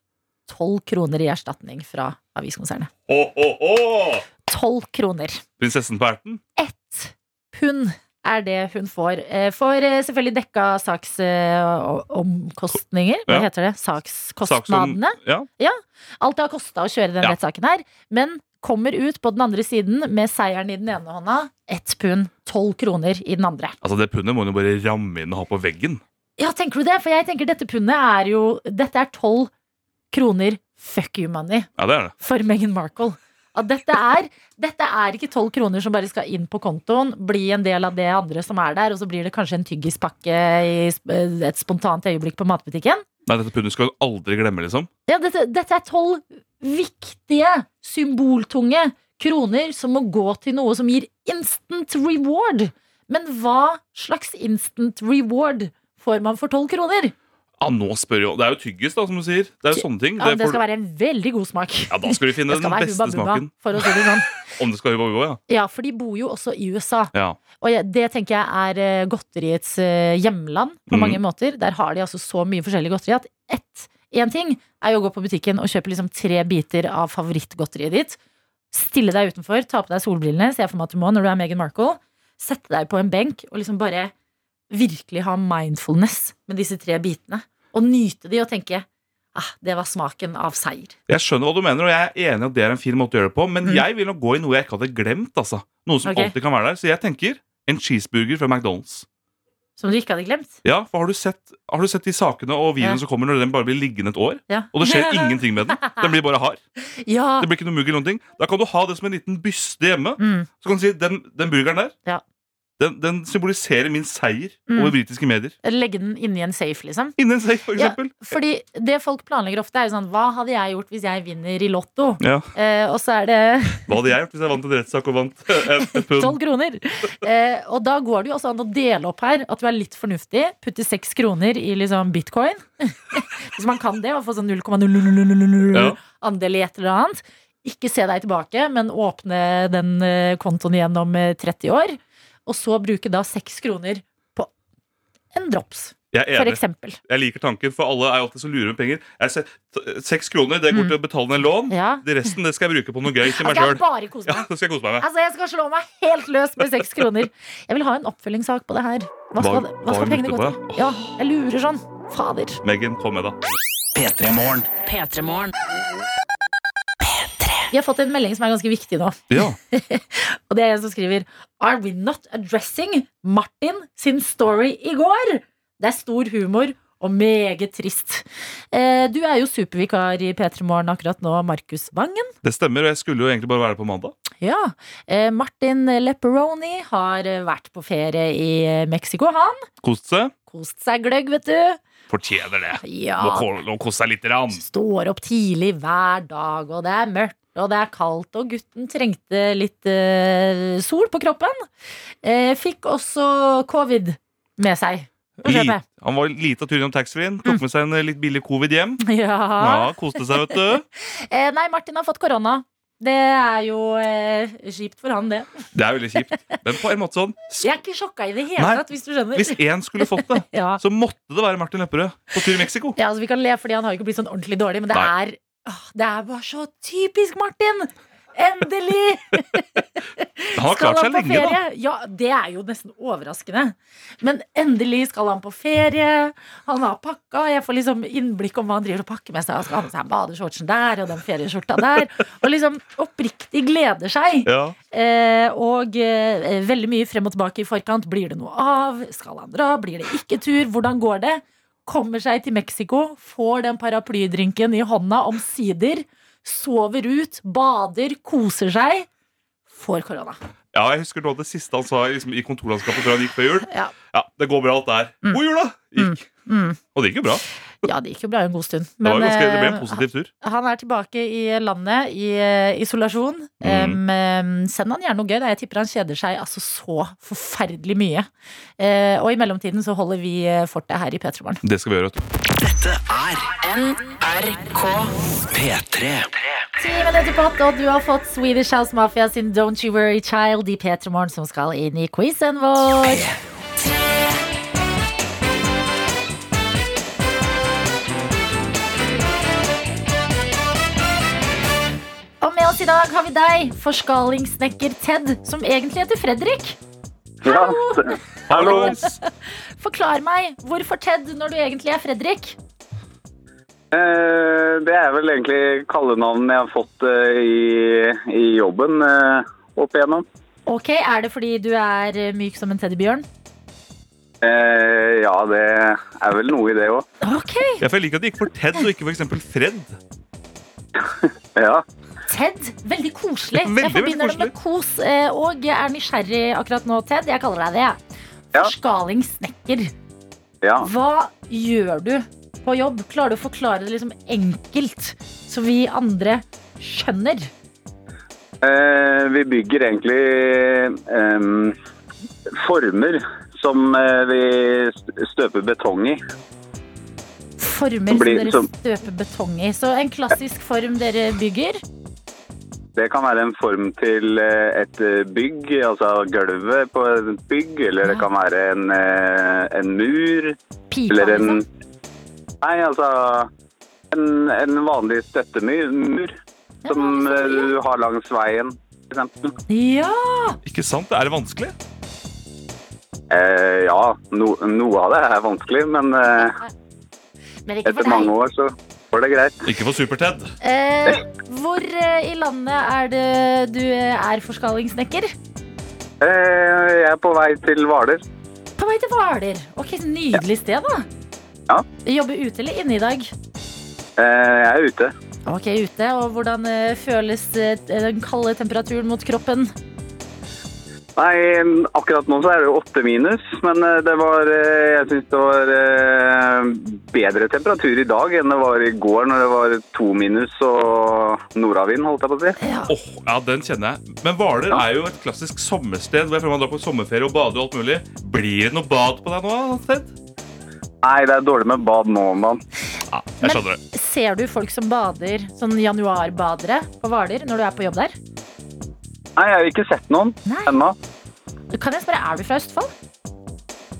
S3: tolv kroner i erstatning fra aviskonsernet.
S4: Ho, ho, ho!
S3: Tolv kroner.
S4: Prinsessen på erten?
S3: Ett pund er det hun får. Eh, Får eh, selvfølgelig dekka saksomkostninger. Hva
S4: Ja.
S3: heter det?
S4: Sak som-
S3: Sakskostnadene.
S4: Ja.
S3: Alt det har kosta å kjøre den
S4: Ja.
S3: rettssaken her. Men kommer ut på den andre siden med seieren i den ene hånda. Ett pund, tolv kroner i den andre.
S4: Altså, det pundet må hun jo bare ramme inn og ha på veggen.
S3: Ja, tenker du det? For jeg tenker dette pundet er jo Dette er tolv kroner fuck you money.
S4: Ja, det er det.
S3: for Meghan Markle. At dette er, dette er ikke tolv kroner som bare skal inn på kontoen, bli en del av det andre som er der, og så blir det kanskje en tyggispakke i sp- et spontant øyeblikk på matbutikken.
S4: Nei, dette pundet skal hun aldri glemme, liksom.
S3: Ja, dette, dette er tolv viktige, symboltunge kroner som må gå til noe som gir instant reward. Men hva slags instant reward får man for tolv kroner?
S4: Ja, nå spør jo Det er jo tyggis, da, som du sier. Det er jo sånne ting.
S3: Ja, men det
S4: får-
S3: skal være en veldig god smak.
S4: ja, da skal du finne
S3: Det
S4: den
S3: skal være
S4: beste
S3: hubba bubba,
S4: smaken.
S3: for å si det sånn.
S4: Om det skal hubba bubba, ja.
S3: Ja, for de bor jo også i USA.
S4: ja.
S3: Og jeg- det tenker jeg er eh, godteriets eh, hjemland på
S4: Mm.
S3: mange måter. Der har de altså så mye forskjellig godteri at ett én ting er jo å gå på butikken og kjøpe liksom tre biter av favorittgodteriet ditt. Stille deg utenfor, ta på deg solbrillene, ser jeg for meg at du må når du er Meghan Markle. Sette deg på en benk og liksom bare virkelig ha mindfulness med disse tre bitene. Og nyte de og tenke ah, det var smaken av seier.
S4: Jeg skjønner hva du mener, og jeg er enig i at det er en fin måte å gjøre det på, men
S3: Mm.
S4: jeg vil nok gå i noe jeg ikke hadde glemt. altså. Noe som
S3: Ok.
S4: alltid kan være der. Så jeg tenker en cheeseburger fra McDonald's.
S3: Som du ikke hadde glemt.
S4: Ja, for Har du sett, har du sett de sakene og videoene
S3: Ja.
S4: som kommer når den bare blir liggende et år?
S3: Ja.
S4: Og det skjer ingenting med den. Den blir bare hard.
S3: Ja.
S4: Det blir ikke noe mugg eller noen ting. Da kan du ha det som en liten byste hjemme.
S3: Mm.
S4: Så kan du si den, den burgeren der,
S3: Ja.
S4: den, den symboliserer min seier
S3: Mm.
S4: over britiske medier.
S3: Legge den inni en safe, liksom.
S4: Innen seier, for
S3: Ja.
S4: eksempel.
S3: Fordi det folk planlegger ofte er jo sånn Hva hadde jeg gjort hvis jeg vinner i lotto?
S4: Ja.
S3: Eh, og så er det
S4: Hva hadde jeg gjort hvis jeg vant en rettssak og vant eh, en en
S3: tolv
S4: pund?
S3: kroner. Eh, og da går det jo også an å dele opp her. At du er litt fornuftig. Putte seks kroner i liksom bitcoin. hvis man kan det, og få sånn 0,000
S4: Ja.
S3: andel i et eller annet. Ikke se deg tilbake, men åpne den eh, kontoen igjen om eh, 30 år. Og så bruke da seks kroner på en drops,
S4: Jeg er
S3: for
S4: enig.
S3: eksempel.
S4: Jeg liker tanken, for alle er jo alltid så lure med penger. Jeg ser, t- Seks kroner, det går til å betale ned lån.
S3: Mm. Ja.
S4: Det resten det skal jeg bruke på noe gøy
S3: Da
S4: til meg
S3: skal jeg
S4: sjøl.
S3: bare kose
S4: Ja,
S3: meg.
S4: det skal jeg kose meg med.
S3: Altså, Jeg skal slå meg helt løs med seks kroner. Jeg vil ha en oppfølgingssak på det her. Hva
S4: Hva-
S3: skal,
S4: hva
S3: hva skal
S4: er
S3: pengene
S4: det
S3: gå
S4: på?
S3: til? Ja, jeg lurer sånn. Fader.
S4: Megan, kom med, da.
S2: P3morgen.
S3: Vi har fått en melding som er ganske viktig nå.
S4: Ja.
S3: Og det er en som skriver Are we not addressing Martin sin story i går? Det er stor humor og meget trist. Eh, du er jo supervikar i P3 Morgen akkurat nå, Markus Vangen.
S4: Det stemmer, og jeg skulle jo egentlig bare være på mandag.
S3: Ja. Eh, Martin Lepperoni har eh, vært på ferie i eh, Mexico, han.
S4: Kost seg.
S3: Kost seg gløgg, vet du.
S4: Fortjener det.
S3: Ja,
S4: Må ko- må kose seg lite grann.
S3: Står opp tidlig hver dag, og det er mørkt, og det er kaldt, og gutten trengte litt eh, sol på kroppen. Eh, fikk også covid med seg. På
S4: Lit-
S3: kjøpet.
S4: Han var lite av tur innom taxfree-en. Tok med seg en eh, litt billig covid hjem.
S3: Mm. Ja.
S4: Ja, Koste seg, vet du.
S3: Eh, nei, Martin har fått korona. Det er jo eh, kjipt for han, det.
S4: Det er veldig kjipt. Men på en måte sånn s-
S3: Jeg er ikke sjokka i det hele
S4: Nei.
S3: tatt, hvis du skjønner.
S4: Hvis én skulle fått det,
S3: Ja.
S4: så måtte det være Martin Lepperød på tur i Mexico.
S3: ja, altså Vi kan le, fordi han har jo ikke blitt sånn ordentlig dårlig, men det
S4: Nei.
S3: er, åh, det er bare så typisk Martin! Endelig!
S4: Han har klart seg lenge, da.
S3: Ja, det er jo nesten overraskende. Men endelig skal han på ferie. Han har pakka, og jeg får liksom innblikk om hva han driver og pakker med seg. Han skal ha med seg badeshortsen der og den ferieskjorta der. Og liksom oppriktig gleder seg.
S4: Ja.
S3: Eh, og eh, veldig mye frem og tilbake i forkant. Blir det noe av? Skal han dra? Blir det ikke tur? Hvordan går det? Kommer seg til Mexico, får den paraplydrinken i hånda omsider. Sover ut, bader, koser seg. Får korona.
S4: Ja, jeg husker noe av det siste han sa liksom, i kontorlandskapet før han gikk før jul.
S3: Ja.
S4: det går bra, alt det her. God jul, da! Gikk.
S3: Mm.
S4: Og det gikk jo bra.
S3: Ja, det gikk jo bra en god stund.
S4: det, var jo ganske, det ble en
S3: eh,
S4: positiv tur.
S3: han er tilbake i landet i eh, isolasjon.
S4: Mm.
S3: Em, em, send han gjerne noe gøy. Da. Jeg tipper han kjeder seg altså så forferdelig mye. Eh, og i mellomtiden så holder vi eh, fortet her i P3 Morgen.
S4: Det skal vi gjøre. vet du.
S2: NRK.
S3: Ti minutter på åtte, og du har fått Swedish House Mafia sin Don't You Worry Child i P3 Morgen, som skal inn i quizen vår. Og med oss i dag har vi deg, forskalingssnekker Ted, som egentlig heter Fredrik.
S7: Ja. Hallo.
S3: Forklar meg, hvorfor Ted når du egentlig er Fredrik?
S7: Eh, Det er vel egentlig kallenavnet jeg har fått eh, i, i jobben eh, opp igjennom.
S3: Ok, Er det fordi du er eh, myk som en teddybjørn?
S7: Eh, Ja, det er vel noe i det òg.
S3: Ok,
S4: Ja, for jeg liker at det gikk for Ted og ikke for eksempel Fred.
S7: Ja.
S3: Ted. Veldig koselig.
S4: Veldig,
S3: jeg forbinder
S4: veldig
S3: det med kos eh, og jeg er nysgjerrig akkurat nå, Ted. Jeg kaller deg det. jeg.
S7: Ja.
S3: Forskalingssnekker.
S7: ja.
S3: Hva gjør du på jobb? Klarer du å forklare det liksom enkelt, så vi andre skjønner?
S7: Eh, Vi bygger egentlig em, eh, former som eh, vi st- støper betong i.
S3: Former
S7: Så blir-
S3: som
S7: så-
S3: dere støper betong i. Så en klassisk form dere bygger.
S7: Det kan være en form til eh, et eh, bygg, altså gulvet på et bygg, eller det
S3: Ja.
S7: kan være en, eh, en mur,
S3: Pipa,
S7: eller en
S3: liksom.
S7: Nei, altså en, en vanlig støttemur mur,
S3: Ja,
S7: som
S3: vanlig
S7: eh,
S3: støttemur,
S7: du har langs veien, for eksempel.
S3: Ja!
S4: Ikke sant? Er det vanskelig?
S7: Eh, ja, no, noe av det er vanskelig, men eh,
S3: Men ikke
S7: etter
S3: for deg.
S7: mange år så går det greit.
S4: Ikke for Super-Ted.
S3: Eh, hvor eh, i landet er det du eh, er forskalingssnekker?
S7: Eh, jeg er på vei til Hvaler.
S3: På vei til Hvaler. Ok, så Nydelig sted, da.
S7: Ja.
S3: Jobber ute eller inne i dag?
S7: Eh, jeg er ute.
S3: Ok, ute. Og hvordan eh, føles eh, den kalde temperaturen mot kroppen?
S7: Nei, akkurat nå så er det jo åtte minus, men eh, det var eh, Jeg syns det var eh, bedre temperatur i dag enn det var i går når det var to minus og nordavind, holdt jeg på å si.
S3: Ja.
S4: Åh, ja, den kjenner jeg. Men Hvaler er jo et klassisk sommersted hvor jeg føler man drar på sommerferie og bader og alt mulig. Blir det noe bad på deg nå? Sted?
S7: Nei, det er dårlig med bad nå om dagen.
S4: Ja,
S3: Men-
S4: jeg skjønner det.
S3: Ser du folk som bader, sånn januarbadere på Hvaler, når du er på jobb der?
S7: Nei, jeg har ikke sett noen
S3: Nei.
S7: ennå.
S3: Kan jeg spørre, er du fra Østfold?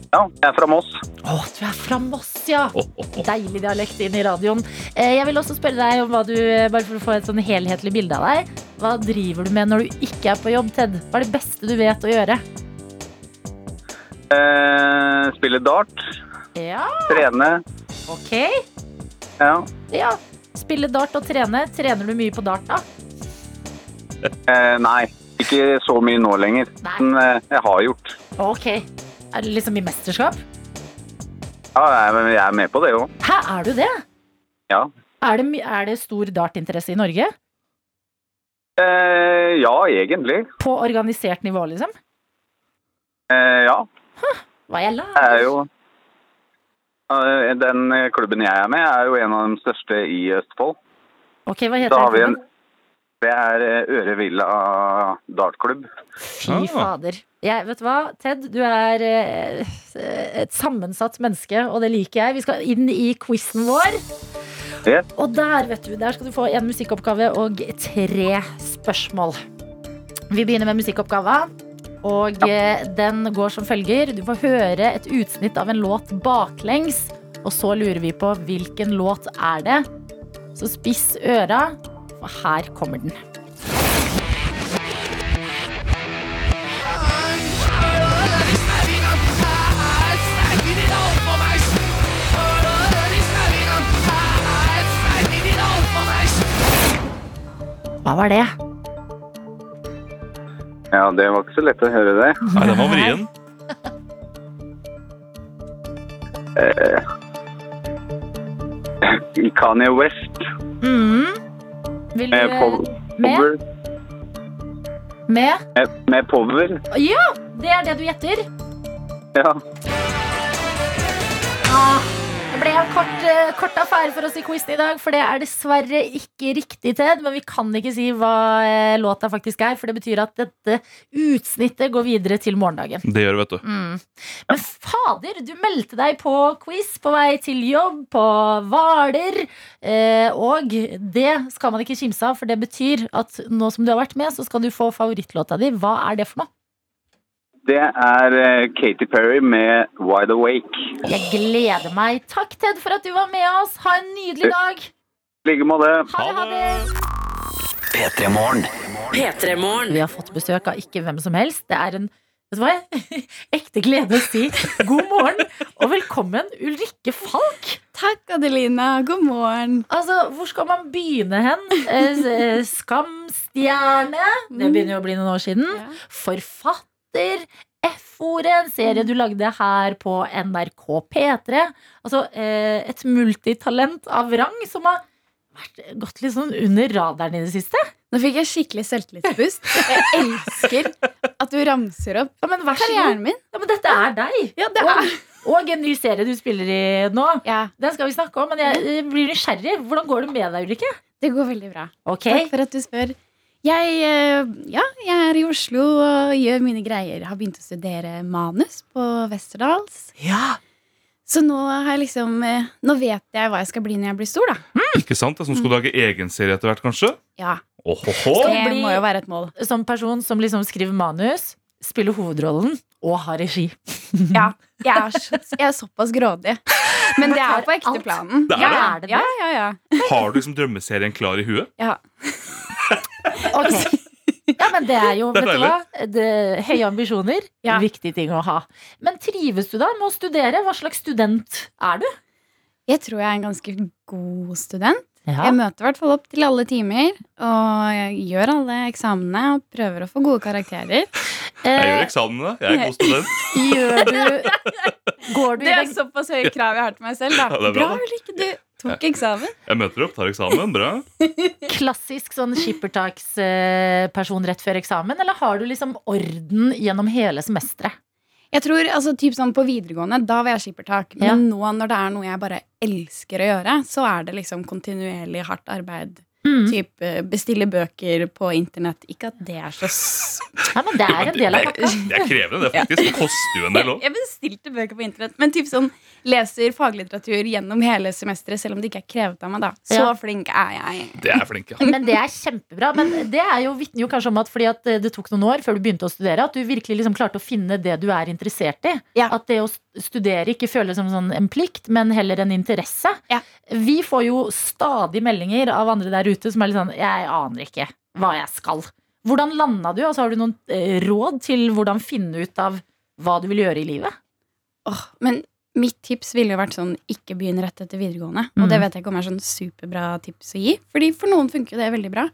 S7: Ja, jeg er fra Moss.
S3: Å, du er fra Moss, ja.
S4: Åh, åh, åh.
S3: Deilig dialekt inn i radioen. Eh, Jeg vil også spørre deg om hva du, eh, bare for å få et sånn helhetlig bilde av deg, hva driver du med når du ikke er på jobb, Ted? Hva er det beste du vet å gjøre?
S7: Eh, spiller dart,
S3: Ja,
S7: trene.
S3: ok.
S7: Ja.
S3: Ja. Spille dart og trene. Trener du mye på dart, da?
S7: Eh, nei, ikke så mye nå lenger.
S3: Nei.
S7: Men eh, jeg har gjort.
S3: Ok. Er det liksom i mesterskap?
S7: Ja, jeg, jeg er med på det òg.
S3: Hæ, er du det?
S7: Ja.
S3: Er det, my- er det stor dartinteresse i Norge?
S7: Eh, ja, egentlig.
S3: På organisert nivå, liksom?
S7: Eh, ja.
S3: Hva jeg
S7: Det
S3: lærer?
S7: er jo Eh, Den klubben jeg er med, er jo en av de største i Østfold.
S3: Ok, hva heter
S7: Da har vi
S3: den?
S7: en Det er eh, Øre Villa dartklubb.
S3: Fy
S4: Ah.
S3: fader. Jeg, vet du hva, Ted, du er eh, et sammensatt menneske, og det liker jeg. Vi skal inn i quizen vår.
S7: Ja.
S3: Og der, vet du, der skal du få en musikkoppgave og tre spørsmål. Vi begynner med musikkoppgava. Og eh, den går som følger. Du får høre et utsnitt av en låt baklengs. Og så lurer vi på hvilken låt er det. Så spiss øra, for her kommer den. Hva var det?
S7: Ja, det var ikke så lett å høre det.
S4: Nei, den var vrien.
S7: Eh, Kanye West
S3: Mm. Vil du
S7: med, pov
S3: med?
S7: Power,
S3: med?
S7: med, med Power.
S3: Ja! Det er det du gjetter.
S7: Ja.
S3: Det ble en kort, eh, kort affære for oss i quizen i dag, for det er dessverre ikke riktig, Ted. Men vi kan ikke si hva eh, låta faktisk er, for det betyr at dette utsnittet går videre til morgendagen.
S4: Det gjør det, vet du.
S3: Mm. Men fader, du meldte deg på quiz på vei til jobb, på Hvaler. Eh, og det skal man ikke kimse av, for det betyr at nå som du har vært med, så skal du få favorittlåta di. Hva er det for noe?
S7: Det er eh, Katy Perry med Wide Awake.
S3: Jeg gleder meg. Takk, Ted, for at du var med oss. Ha en nydelig dag.
S7: I like måte.
S3: Ha det, ha det.
S1: P3-morgen.
S2: P3-morgen.
S3: Vi har fått besøk av ikke hvem som helst. Det er en vet du hva? jeg- ekte glede å si god morgen og velkommen, Ulrikke Falk.
S8: Takk, Adelina. God morgen.
S3: Altså, Hvor skal man begynne hen? Eh, eh, Skamstjerne. Det begynner jo å bli noen år siden.
S8: Ja.
S3: Forfatter. F-ordet, en serie du lagde her på NRK P3. Altså eh, et multitalent av rang som har vært, gått litt sånn under radaren i det siste.
S8: Nå fikk jeg skikkelig selvtillitsboost. Jeg elsker at du ramser opp
S3: Ja, men vær så god.
S8: karrieren min.
S3: Ja, men dette er deg.
S8: Ja, det
S3: er- Og en ny serie du spiller i nå.
S8: Ja,
S3: Den skal vi snakke om, men jeg eh, blir nysgjerrig. Hvordan går det med deg, Ulrikke?
S8: det går veldig bra.
S3: Ok,
S8: Takk for at du spør. Jeg, eh, ja, jeg er i Oslo og gjør mine greier. Har begynt å studere manus på Westerdals.
S3: ja
S8: Så nå har jeg liksom eh, Nå vet jeg hva jeg skal bli når jeg blir stor, da.
S4: Ikke sant? Det er Som skulle lage egen serie etter hvert, kanskje?
S8: Ja,
S4: Ohoho.
S8: Det
S3: bli-
S8: må jo være et mål.
S3: Som person som liksom skriver manus, spiller hovedrollen og har regi. Mhm.
S8: Ja, jeg er, så, jeg er såpass grådig. Men det er på ekte
S3: Alt.
S8: planen.
S4: Det er
S8: ja,
S3: det. Er det det?
S8: ja, ja, ja.
S4: Har du liksom drømmeserien klar i huet?
S8: ja.
S3: Ja, men det er jo
S4: Det er
S3: vet du hva? Det, høye ambisjoner.
S8: Ja.
S3: Viktig ting å ha. Men trives du da med å studere? Hva slags student er du?
S8: Jeg tror jeg er en ganske god student. Jeg møter i hvert fall opp til alle timer. Og jeg gjør alle eksamenene og prøver å få gode karakterer.
S4: Jeg gjør
S3: Eh,
S4: eksamene. Jeg er god student.
S3: gjør du Går du i den
S8: såpass høye krav jeg har til meg selv.
S4: Ja, det er bra, da.
S8: eller ikke? Du tok eksamen.
S4: Jeg møter opp, tar eksamen. Bra.
S3: klassisk sånn skippertaksperson rett før eksamen, eller har du liksom orden gjennom hele semesteret?
S8: Jeg tror, altså, typ sånn På videregående da var jeg skippertak. Men
S3: Ja.
S8: nå når det er noe jeg bare elsker å gjøre, så er det liksom kontinuerlig hardt arbeid.
S3: Mm.
S8: Typ eh, bestille bøker på internett. Ikke at det er så s-
S3: Nei, men det er en del av pakka.
S4: Det er krevende, det, faktisk. Det koster jo en del
S8: Jeg,
S4: òg.
S8: jeg bestilte bøker på internett, men typ sånn leser faglitteratur gjennom hele semesteret, selv om det ikke er krevet av meg, da. Så
S3: Ja.
S8: flink er jeg.
S4: Det er flinke.
S3: Men det er kjempebra. Men det er jo vitner jo kanskje om at fordi at eh, det tok noen år før du begynte å studere, at du virkelig liksom klarte å finne det du er interessert i.
S8: Ja.
S3: At det å studere ikke føles som sånn en plikt, men heller en interesse.
S8: Ja.
S3: Vi får jo stadig meldinger av andre der ute som er litt sånn Jeg aner ikke hva jeg skal. Hvordan landa du? Altså, har du noen eh, råd til hvordan finne ut av hva du vil gjøre i livet?
S8: Åh, men mitt tips ville jo vært sånn ikke begynn rett etter videregående.
S3: Mm.
S8: Og det vet jeg ikke om er sånn superbra tips å gi, Fordi for noen funker jo det veldig bra.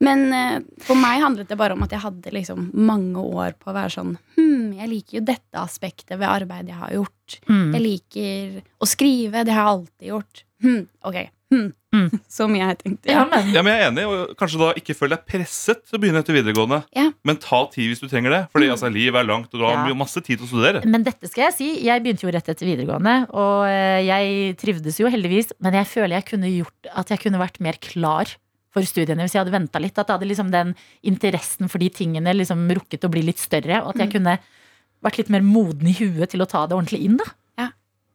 S8: Men eh, for meg handlet det bare om at jeg hadde liksom mange år på å være sånn Hm, jeg liker jo dette aspektet ved arbeidet jeg har gjort.
S3: Mm.
S8: Jeg liker å skrive. Det har jeg alltid gjort. Hm, ok. Hm.
S3: Mm.
S8: Så mye jeg tenkte.
S3: Ja, men
S4: Ja, men jeg er enig, og Kanskje da ikke føl deg presset til å begynne etter videregående.
S8: Ja.
S4: Men ta tid hvis du trenger det. Fordi altså, livet er langt, og du har
S3: Mm. Ja.
S4: masse tid til å studere.
S3: Men dette skal jeg si. Jeg begynte jo rett etter videregående, og eh, jeg trivdes jo heldigvis, men jeg føler jeg kunne gjort at jeg kunne vært mer klar for studiene hvis jeg hadde venta litt. At jeg hadde liksom den interessen for de tingene liksom rukket å bli litt større, og at
S8: Mm.
S3: jeg kunne vært litt mer moden i huet til å ta det ordentlig inn, da.
S8: Ja.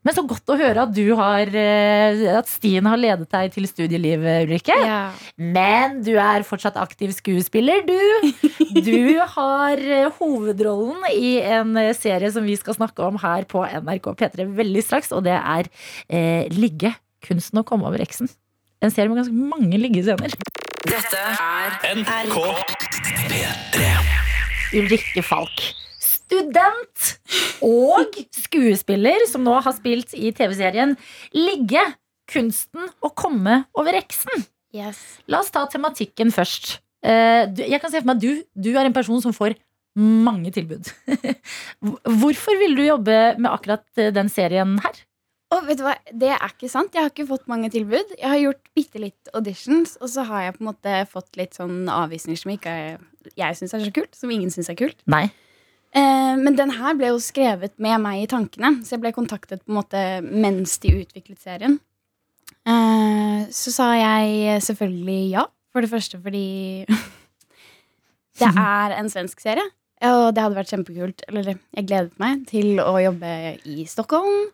S3: Men så godt å høre at du har eh, At stien har ledet deg til studielivet, Ulrikke.
S8: Ja.
S3: Men du er fortsatt aktiv skuespiller, du. Du har eh, hovedrollen i en eh, serie som vi skal snakke om her på NRK P3 veldig straks, og det er eh, Ligge. Kunsten å komme over eksen. En serie med ganske mange liggescener. Ulrikke Falk. Student og skuespiller som nå har spilt i TV-serien Ligge. Kunsten å komme over eksen.
S8: Yes.
S3: La oss ta tematikken først. Eh, du- Jeg kan se for meg at du, du er en person som får mange tilbud. Hvor- Hvorfor ville du jobbe med akkurat eh, den serien her?
S8: Og vet du hva, det er ikke sant. Jeg har ikke fått mange tilbud. Jeg har gjort bitte litt auditions, og så har jeg på en måte fått litt sånn avvisninger som ikke er, jeg syns er så kult, som ingen syns er kult.
S3: Nei.
S8: Eh, men den her ble jo skrevet med meg i tankene, så jeg ble kontaktet på en måte mens de utviklet serien. Eh, så sa jeg selvfølgelig ja, for det første fordi det er en svensk serie. Og det hadde vært kjempekult. Eller jeg gledet meg til å jobbe i Stockholm.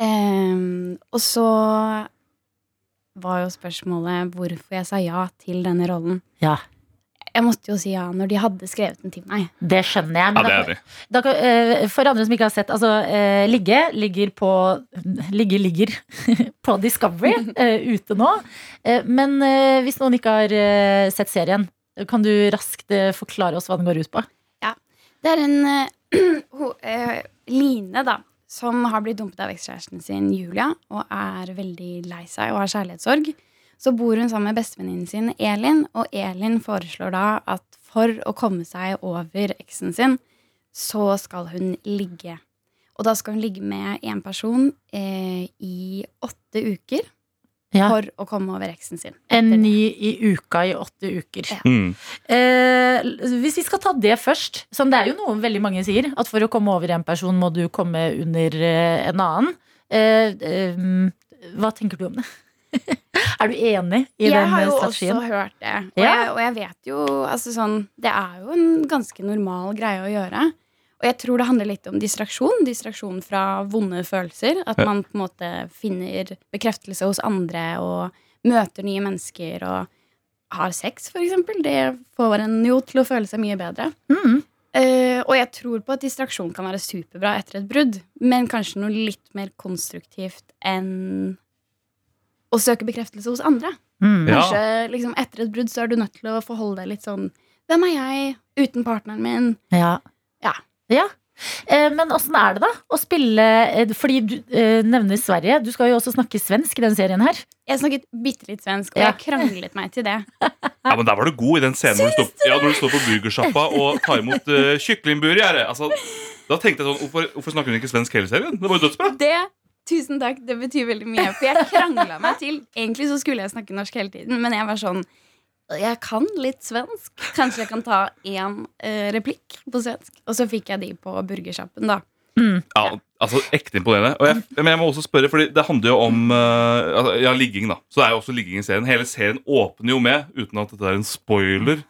S8: Eh, og så var jo spørsmålet hvorfor jeg sa ja til denne rollen.
S3: Ja,
S8: Jeg måtte jo si ja når de hadde skrevet den til meg.
S3: det skjønner jeg.
S4: Ja,
S3: men
S4: det
S3: da-
S4: er enig.
S3: da kan- eh, for andre som ikke har sett, altså eh, Ligge ligger på Ligge ligger på Discovery eh, ute nå. Eh, Men eh, hvis noen ikke har eh, sett serien, kan du raskt eh, forklare oss hva den går ut på?
S8: Det er en eh, ho, eh, Line, da, som har blitt dumpet av ekskjæresten sin, Julia, og er veldig lei seg og har kjærlighetssorg. Så bor hun sammen med bestevenninnen sin, Elin, og Elin foreslår da at for å komme seg over eksen sin, så skal hun ligge. Og da skal hun ligge med én person eh, i åtte uker for å komme over eksen sin.
S3: En ny i uka i åtte uker.
S8: Ja.
S4: Mm.
S3: Eh, hvis vi skal ta det først sånn, Det er jo noe veldig mange sier, at for å komme over en person må du komme under eh, en annen. Eh, eh, hva tenker du om det? er du enig i
S8: jeg
S3: den
S8: har
S3: eh,
S8: jo
S3: strategien?
S8: også hørt det. Og,
S3: Ja.
S8: jeg, og jeg vet jo altså sånn, Det er jo en ganske normal greie å gjøre. Og jeg tror det handler litt om distraksjon. Distraksjon fra vonde følelser. At
S4: Ja.
S8: man på en måte finner bekreftelse hos andre og møter nye mennesker og har sex, for eksempel. Det får en jo til å føle seg mye bedre.
S3: Mm.
S8: Eh, og jeg tror på at distraksjon kan være superbra etter et brudd, men kanskje noe litt mer konstruktivt enn å søke bekreftelse hos andre.
S3: Mm.
S4: Ja.
S8: Kanskje liksom, etter et brudd så er du nødt til å forholde deg litt sånn Hvem er jeg uten partneren min?
S3: Ja.
S8: Ja.
S3: Ja. Eh, Men åssen er det, da? Å spille eh, Fordi du eh, nevner Sverige. Du skal jo også snakke svensk i den serien her.
S8: Jeg snakket bitte litt svensk, og
S3: Ja.
S8: jeg kranglet meg til det.
S4: Ja, men Der var du god i den scenen hvor du står, ja, når du står på burgersjappa og tar imot uh, kyllingburgere. Altså, da tenkte jeg sånn, hvorfor, hvorfor snakker hun ikke svensk hele serien? Det var jo dødsbra.
S8: Det, tusen takk, det betyr veldig mye, for jeg krangla meg til. Egentlig så skulle jeg snakke norsk hele tiden, men jeg var sånn Jeg kan litt svensk. Kanskje jeg kan ta én eh, replikk på svensk? Og så fikk jeg de på burgersjappen, da.
S4: Ja, altså Ekte imponerende. Og jeg, men jeg må også spørre, fordi det handler jo om eh, altså, Ja, ligging, da. Så det er jo også ligging i serien. Hele serien åpner jo med, uten at dette er en spoiler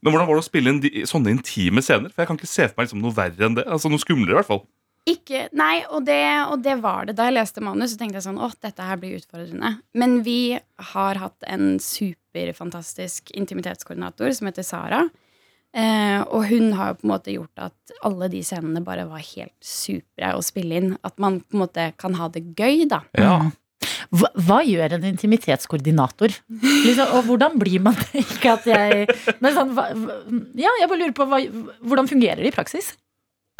S4: Men hvordan var det å spille inn de, sånne intime scener? For jeg kan ikke se for meg liksom, noe verre enn det. Altså Noe skumlere, i hvert fall.
S8: Ikke, nei, og det, og det var det. Da jeg leste manus, så tenkte jeg sånn Å, dette her blir utfordrende. Men vi har hatt en superfantastisk intimitetskoordinator som heter Sara. Eh, og hun har jo på en måte gjort at alle de scenene bare var helt supre å spille inn. At man på en måte kan ha det gøy, da.
S4: Ja.
S3: Hva, hva gjør en intimitetskoordinator? Liksom, og hvordan blir man det? Ikke at jeg Men sånn hva, hva- Ja, jeg bare lurer på hva, hvordan fungerer det i praksis?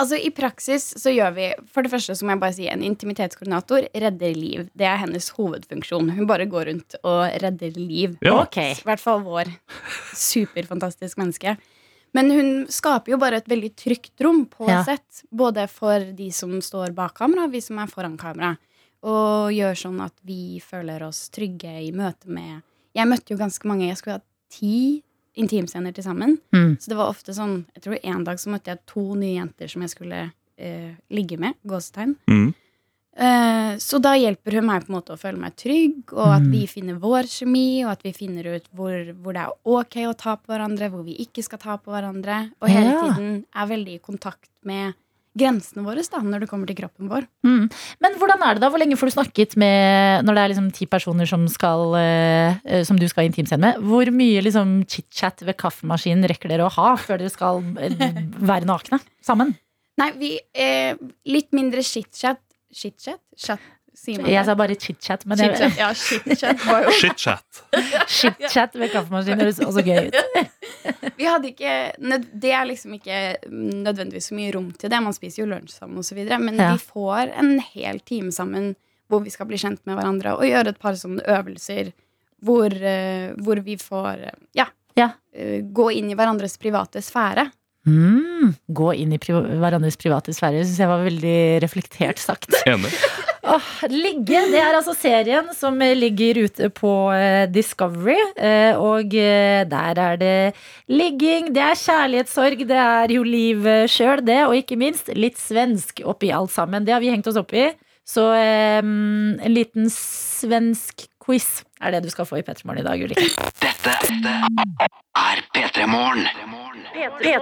S8: Altså I praksis så gjør vi For det første så må jeg bare si en intimitetskoordinator redder liv. Det er hennes hovedfunksjon. Hun bare går rundt og redder liv.
S4: Ja.
S3: Ok.
S8: I hvert fall vår superfantastisk menneske. Men hun skaper jo bare et veldig trygt rom på
S3: Ja.
S8: sett. Både for de som står bak kamera, og vi som er foran kamera. Og gjør sånn at vi føler oss trygge i møte med Jeg møtte jo ganske mange. Jeg skulle ha ti intimscener til sammen.
S3: Mm.
S8: Så det var ofte sånn Jeg tror en dag så møtte jeg to nye jenter som jeg skulle eh, ligge med. Gåsetegn.
S4: Mm.
S8: Eh, Så da hjelper hun meg på en måte å føle meg trygg, og at
S3: Mm.
S8: vi finner vår kjemi, og at vi finner ut hvor, hvor det er ok å ta på hverandre, hvor vi ikke skal ta på hverandre. Og hele
S3: Ja.
S8: tiden er veldig i kontakt med grensene våre da, når det kommer til kroppen vår.
S3: Mm. Men hvordan er det da? Hvor lenge får du snakket med Når det er liksom ti personer som, skal, eh, eh, som du skal ha intimscene med, hvor mye liksom chit-chat ved kaffemaskinen rekker dere å ha før dere skal eh, være nakne sammen?
S8: Nei, vi eh, Litt mindre chit-chat. Chit-chat? Chat, sier man det?
S3: Jeg sa bare chit-chat, men det-
S8: Chit-chat, ja, chit-chat var jo
S4: Shit-chat.
S3: chit-chat ved kaffemaskinen høres også gøy ut.
S8: Vi hadde ikke nød, Det er liksom ikke nødvendigvis så mye rom til det. Man spiser jo lunsj sammen osv. Men
S3: Ja.
S8: vi får en hel time sammen hvor vi skal bli kjent med hverandre og gjøre et par sånne øvelser hvor, eh, hvor vi får eh, ja,
S3: Ja.
S8: eh, gå inn i hverandres private sfære.
S3: Mm. Gå inn i priva hverandres private sfære syns jeg var veldig reflektert sagt.
S4: Enig.
S3: Åh, ligge, det er altså serien som ligger ute på eh, Discovery. eh, Og eh, der er det ligging, det er kjærlighetssorg, det er jo livet sjøl, det. Og ikke minst litt svensk oppi alt sammen. Det har vi hengt oss opp i. Så eh, en liten svensk quiz er det du skal få i P3 Morgen i dag, Ulrikke.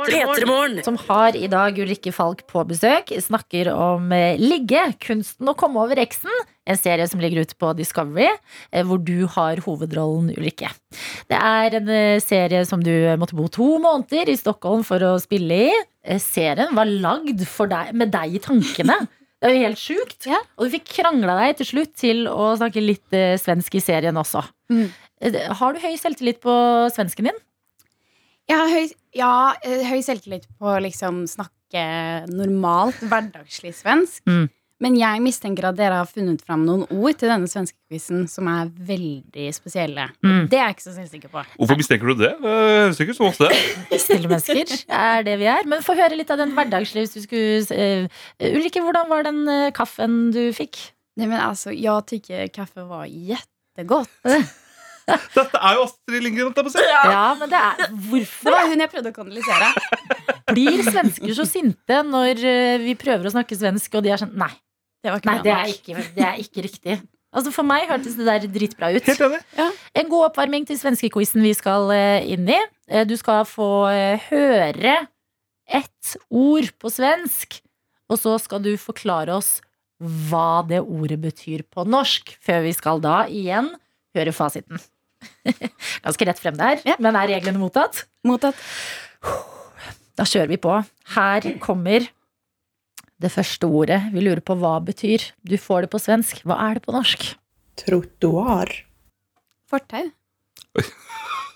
S2: P3morgen.
S3: som har i dag Ulrikke Falk på besøk, snakker om eh, Ligge, kunsten å komme over eksen. En serie som ligger ute på Discovery, eh, hvor du har hovedrollen Ulrikke. Det er en eh, serie som du måtte bo to måneder i Stockholm for å spille i. Eh, Serien var lagd for deg, med deg i tankene. Det er jo helt sjukt.
S8: Ja.
S3: Og du fikk krangla deg til slutt til å snakke litt eh, svensk i serien også.
S8: Mm.
S3: Eh, Har du høy selvtillit på svensken din?
S8: Jeg har høy, ja, eh, høy selvtillit på å liksom snakke normalt, hverdagslig svensk.
S3: Mm.
S8: Men jeg mistenker at dere har funnet fram noen ord til denne svenskequizen som er veldig spesielle.
S3: Mm.
S8: Det er jeg ikke så selvsikker på.
S4: Hvorfor mistenker du det? Eh, Høres ikke ut som oss, det.
S3: Snille mennesker er det vi er. Men få høre litt av den hverdagslivet du skulle eh, Ulrikke, hvordan var den eh, kaffen du fikk?
S8: Nei, men altså, jeg tykker kaffe var jättegott.
S4: Dette er jo Astrid Lindgren. holdt jeg på å si.
S3: Ja, men det er
S8: Det
S3: Hvorfor
S8: var hun jeg prøvde å kanalisere.
S3: blir svensker så sinte når eh, vi prøver å snakke svensk, og de er sånn Nei,
S8: Det var ikke
S3: nei
S8: bra
S3: det,
S8: nok.
S3: er ikke, det er ikke riktig. Altså For meg hørtes det der dritbra ut.
S4: Helt enig.
S3: En god oppvarming til svenskequizen vi skal eh, inn i. Eh, Du skal få eh, høre ett ord på svensk, og så skal du forklare oss hva det ordet betyr på norsk, før vi skal da igjen høre fasiten. Ganske rett frem der, men er reglene mottatt?
S8: Mottatt.
S3: Da kjører vi på. Her kommer det første ordet. Vi lurer på hva betyr. Du får det på svensk. Hva er det på norsk?
S9: Trottoar.
S8: Fortau.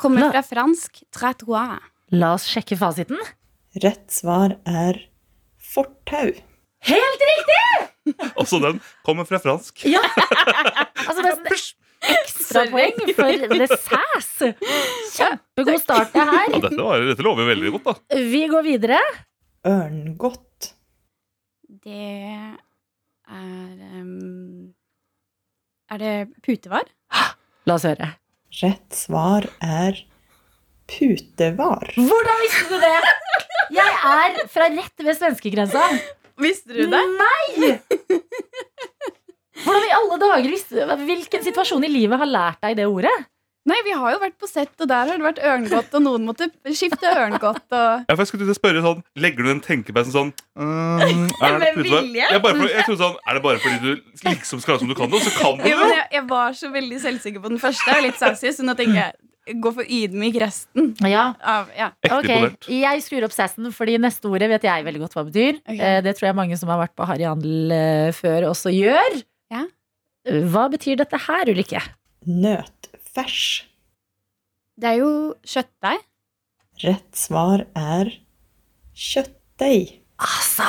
S8: Kommer fra fransk trottoir.
S3: La oss sjekke fasiten.
S9: Rett svar er fortau.
S3: Helt riktig!
S4: Også den kommer fra fransk.
S3: Altså nesten ekstrapoeng for the sass. Kjempegod start det her.
S4: Ja, dette, var, dette lover jo veldig godt, da.
S3: Vi går videre.
S9: Ørngodt.
S8: Det er ehm, Er det putevar?
S3: La oss høre.
S9: Rett svar er putevar.
S3: Hvordan visste du det? Jeg er fra rett ved svenskegrensa.
S5: Visste du det?
S3: Nei! Hvordan i alle dager visste du Hvilken situasjon i livet har lært deg det ordet?
S8: Nei, vi har jo vært på sett, og der har det vært ørngodt, og noen måtte skifte ørngodt og
S4: Ja, for jeg skulle til å spørre sånn Legger du den tenkepausen sånn mm, er det
S5: Med
S4: putevar?
S5: vilje?
S4: Jeg, bare for, jeg trodde sånn Er det bare fordi du liksom skal ha som du kan det, og så kan du
S8: ja,
S4: det?
S8: men
S4: jo?
S8: jeg, jeg var så veldig selvsikker på den første, og litt sassy, så nå tenker jeg gå for ydmyk resten.
S3: Ja,
S8: Av, ja.
S4: Ekte
S3: ok.
S4: imponert.
S3: Jeg skrur opp sassen, fordi neste ordet vet jeg veldig godt hva betyr.
S8: Ok.
S3: Eh, Det tror jeg mange som har vært på Harry Handel eh, før, også gjør.
S8: Ja.
S3: Hva betyr dette her, Ulrikke?
S9: Nøtfers.
S8: Det er jo kjøttdeig.
S9: Rett svar er kjøttdeig.
S3: Altså!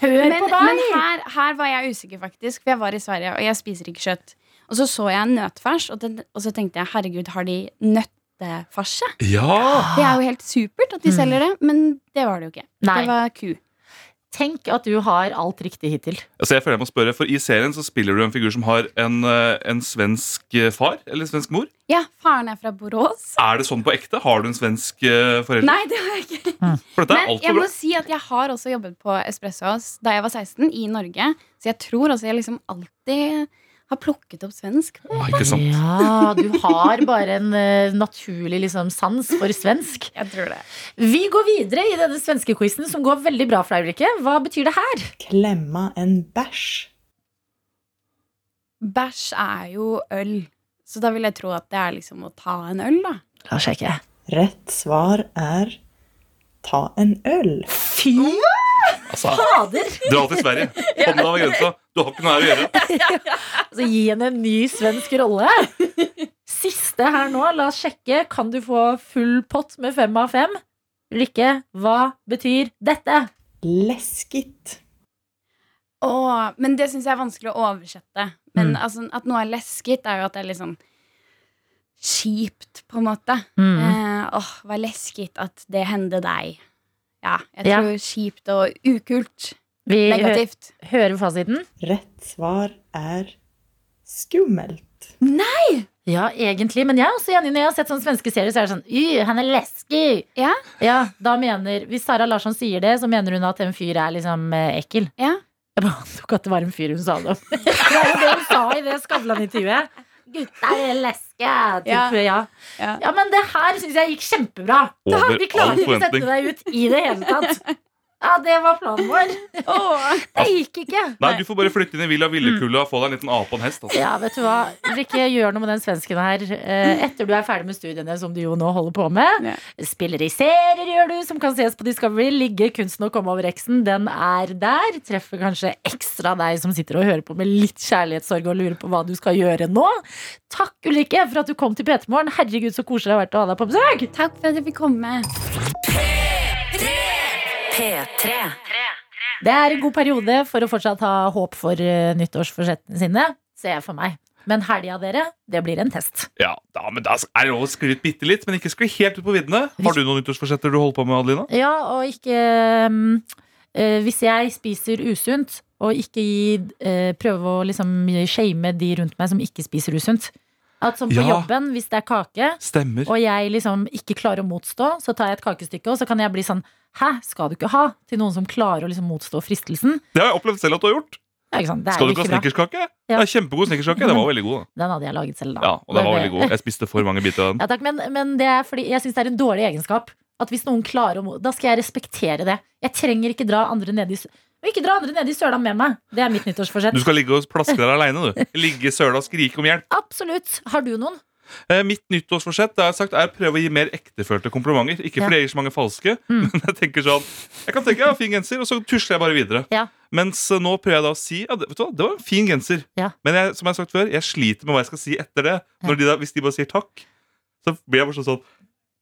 S3: Hør
S8: Men,
S3: på deg!
S8: men her, her var jeg usikker, faktisk, for jeg var i Sverige, og jeg spiser ikke kjøtt. Og så så jeg nøtfers, og, den, og så tenkte jeg herregud, har de nøttefarse?
S4: Ja!
S8: Det er jo helt supert at de
S3: Mm.
S8: selger det, men det var det jo ikke.
S3: Nei.
S8: Det var ku.
S3: Tenk at du har alt riktig hittil.
S4: Altså, jeg føler jeg må spørre, for I serien så spiller du en figur som har en, eh, en svensk eh, far eller svensk mor.
S8: Ja, faren er fra Borås.
S4: Er det sånn på ekte? Har du en svensk eh, forelder?
S8: Nei, det har jeg ikke.
S4: For dette er
S8: Men jeg
S4: altfor
S8: må
S4: bra.
S8: si at jeg har også jobbet på Espresso House da jeg var 16, i Norge. Så jeg tror også jeg liksom alltid har plukket opp svensk.
S4: Ah, ikke sant?
S3: Ja, du har bare en eh, naturlig liksom, sans for svensk.
S8: Jeg tror det.
S3: Vi går videre i denne svenske quizen, som går veldig bra for deg, Ulrikke. Hva betyr det her?
S9: Klemma en bæsj.
S8: Bæsj er jo øl, så da vil jeg tro at det er liksom å ta en øl, da.
S3: La oss sjekke.
S9: Rett svar er ta en øl.
S3: Fy
S4: Altså,
S3: fader!
S4: dra til Sverige. Hånda over grensa. Du har ikke noe her å gjøre.
S3: Altså, gi henne en ny svensk rolle. Siste her nå. La oss sjekke. Kan du få full pott med fem av fem? Ulrikke, hva betyr dette?
S9: Leskigt.
S8: Åh, men det syns jeg er vanskelig å oversette. Men
S3: Mm.
S8: altså, at noe er lesket, er jo at det er litt sånn kjipt, på en måte.
S4: Mm.
S3: Mm.
S8: Eh, åh, hva lesket at det hendte deg. Ja, jeg
S3: Ja.
S8: tror kjipt og ukult.
S3: Vi hø
S8: Negativt.
S3: hører fasiten.
S9: Rett svar er skummelt.
S3: Ja, egentlig, men jeg er også enig når jeg har sett sånne svenske serier, så er det sånn «Y, han er lesky!
S8: Ja.
S3: Ja, da mener, Hvis Sara Larsson sier det, så mener hun at en fyr er liksom eh, ekkel.
S8: Ja.
S3: Jeg bare antok at det var en fyr hun sa det om. det er jo det hun sa i det Skavlan-intervjuet. Gutta er leske! Typ,
S8: Ja.
S3: ja.
S8: Ja.
S3: ja, men det her syns jeg gikk kjempebra. Da,
S4: Over
S3: vi klarer
S4: all
S3: ikke å sette
S4: forventning.
S3: deg ut i det hele tatt. Ja, det var planen vår.
S8: Åh.
S3: Det gikk ikke.
S4: Nei, du får bare flytte inn i
S8: Mm.
S4: Villa Villekulla og få deg en liten ape og en hest. Altså.
S3: Ja, vet du hva? Rikke, gjør noe med den svensken her. Eh, Etter du er ferdig med studiene, som du jo nå holder på med.
S8: Ja.
S3: Spiller i serier, gjør du, som kan ses på Discovery. Ligger kunsten å komme over eksen. Den er der. Treffer kanskje ekstra deg som sitter og hører på med litt kjærlighetssorg og lurer på hva du skal gjøre nå. Takk, Ulrikke, for at du kom til P3 Morgen. Herregud, så koselig det har vært å ha deg på besøk.
S8: Takk for at jeg fikk komme.
S2: P3.
S3: Det er en god periode for å fortsatt ha håp for eh, nyttårsforsettene sine, ser jeg for meg. Men helga, dere, det blir en test.
S4: Ja, da, men da er det lov å skli ut bitte litt, men ikke skli helt ut på viddene. Har du noen nyttårsforsetter du holder på med, Adelina?
S3: Ja, og ikke mm, eh, Hvis jeg spiser usunt, og ikke gi, eh, prøve å liksom shame de rundt meg som ikke spiser usunt At som på
S4: Ja.
S3: jobben, hvis det er kake,
S4: Stemmer.
S3: og jeg liksom ikke klarer å motstå, så tar jeg et kakestykke, og så kan jeg bli sånn Hæ, skal du ikke ha? Til noen som klarer å liksom motstå fristelsen.
S4: Det har jeg opplevd selv at du har gjort.
S3: Det er ikke sant, det er
S4: Skal du
S3: jo
S4: ikke ha
S3: ikke bra.
S4: snickerskake?
S3: Ja.
S4: Ja. Kjempegod snickerskake. Den var veldig god. da.
S3: Den hadde jeg laget selv, da. eh,
S4: Ja, og den
S3: Det
S4: var
S3: er
S4: veldig
S3: det.
S4: god. Jeg spiste for mange biter av den.
S3: Ja, takk, men, men det er fordi jeg syns det er en dårlig egenskap At hvis noen klarer å mo- Da skal jeg respektere det. Jeg trenger ikke dra andre ned i sø- Og ikke dra andre ned i søla med meg. Det er mitt nyttårsforsett.
S4: Du skal ligge og plaske der aleine, du. Ligge i søla og skrike om hjelp.
S3: Absolutt. Har du noen?
S4: Eh, mitt nyttårsforsett det har jeg sagt, er å prøve å gi mer ektefølte komplimenter. Ikke fordi jeg gir så mange falske,
S3: Mm.
S4: men jeg tenker sånn Jeg kan tenke ja, fin genser, og så tusler jeg bare videre.
S3: Ja.
S4: Mens eh, nå prøver jeg da å si ja, det, vet du hva, det var en fin genser.
S3: Ja.
S4: Men jeg, som jeg har sagt før, jeg sliter med hva jeg skal si etter det. Når de da, hvis de bare sier takk, så blir jeg bare sånn sånn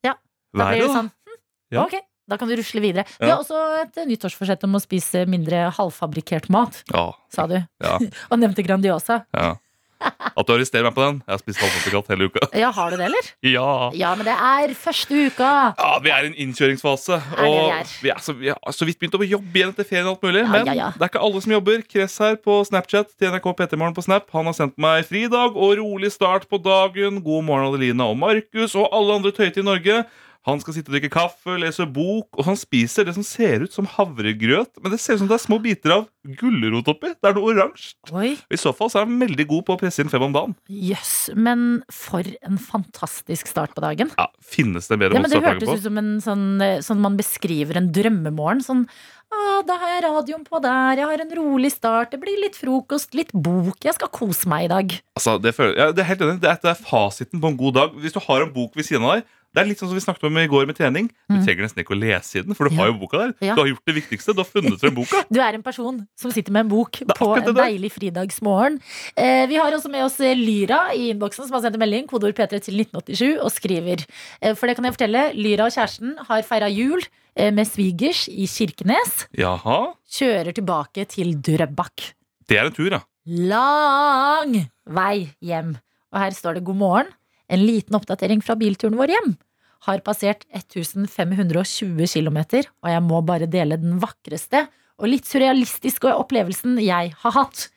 S3: Ja, Da blir
S4: Vær
S3: det
S4: det, da.
S3: sånn. hm,
S4: Ja.
S3: Ok, da kan du rusle videre. Du
S4: Ja.
S3: har også et nyttårsforsett om å spise mindre halvfabrikkert mat,
S4: Ja,
S3: sa du.
S4: ja,
S3: Og nevnte Grandiosa.
S4: ja. At du arresterer meg på den? Jeg har spist halvfabrikat hele uka.
S3: Ja, har du det, eller?
S4: Ja.
S3: Ja, men det er første uka.
S4: ja, Vi er i en innkjøringsfase.
S3: det
S4: Og
S3: vi er.
S4: vi, er så, vi har så vidt begynt å jobbe igjen etter ferien. og alt mulig Men
S3: ja, ja.
S4: det er ikke alle som jobber. Kress her på Snapchat til NRK Petermorgen på Snap. Han har sendt meg fridag og rolig start på dagen. God morgen, Adelina og Markus og alle andre tøyte i Norge. Han skal sitte og drikke kaffe, lese bok, og han spiser det som ser ut som havregrøt. Men det ser ut som det er små biter av gulrot oppi. Det er noe oransje.
S3: Oi,
S4: I så fall så er han veldig god på å presse inn fem om dagen.
S3: jøss. Men for en fantastisk start på dagen.
S4: Ja, Finnes det en bedre
S3: Ja, men
S4: måte
S3: det
S4: å starte
S3: hørtes
S4: dagen på?
S3: ut som en sånn, eh, sånn man beskriver en drømmemorgen. Sånn ah, 'Da har jeg radioen på der, jeg har en rolig start, det blir litt frokost, litt bok, jeg skal kose meg i dag'.
S4: Altså, det, føler, ja, det er helt enig. Det er, det er fasiten på en god dag. Hvis du har en bok ved siden av deg Det er litt sånn som vi snakket om i går med trening. Du
S3: Mm.
S4: trenger nesten ikke å lese i den, for du
S3: Ja.
S4: har jo boka der.
S3: Ja.
S4: Du har gjort det viktigste. Du har funnet frem boka.
S3: Du er en person som sitter med en bok
S4: er
S3: på
S4: akkurat
S3: en
S4: det der.
S3: deilig fridagsmorgen. Eh, vi har også med oss eh, Lyra i innboksen, som har sendt en melding, kodeord P3 til 1987, og skriver. Eh, for det kan jeg fortelle, Lyra og kjæresten har feira jul eh, med svigers i Kirkenes.
S4: Jaha.
S3: Kjører tilbake til Drøbak.
S4: Det er en tur, ja.
S3: Lang vei hjem. Og her står det 'God morgen'. En liten oppdatering fra bilturen vår hjem. Har passert 1520 km, og jeg må bare dele den vakreste og litt surrealistiske opplevelsen jeg har hatt.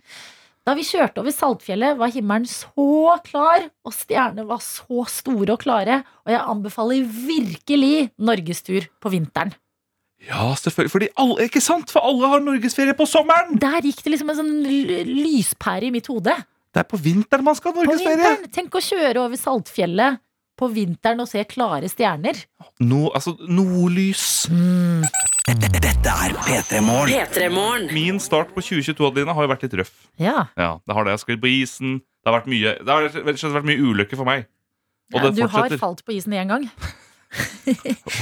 S3: Da vi kjørte over Saltfjellet, var himmelen så klar, og stjernene var så store og klare, og jeg anbefaler virkelig norgestur på vinteren.
S4: Ja, selvfølgelig. Fordi alle, ikke sant? For alle har norgesferie på sommeren!
S3: Der gikk det liksom en sånn l- lyspære i mitt hode.
S4: Det er på vinteren man skal ha
S3: På
S4: norgesferie!
S3: vinteren! Tenk å kjøre over Saltfjellet på vinteren og se klare stjerner.
S4: No, altså, nordlys.
S3: Mm.
S1: Dette er P3 Morgen.
S2: P3morgen.
S4: Min start på 2022 Adelina, har jo vært litt røff.
S3: Ja.
S4: Ja, det har det. Jeg har sklidd på isen. Det har vært mye Det har rett og slett vært mye ulykker for meg.
S3: Ja,
S4: Og det
S3: du har
S4: fortsetter.
S3: falt på isen én gang.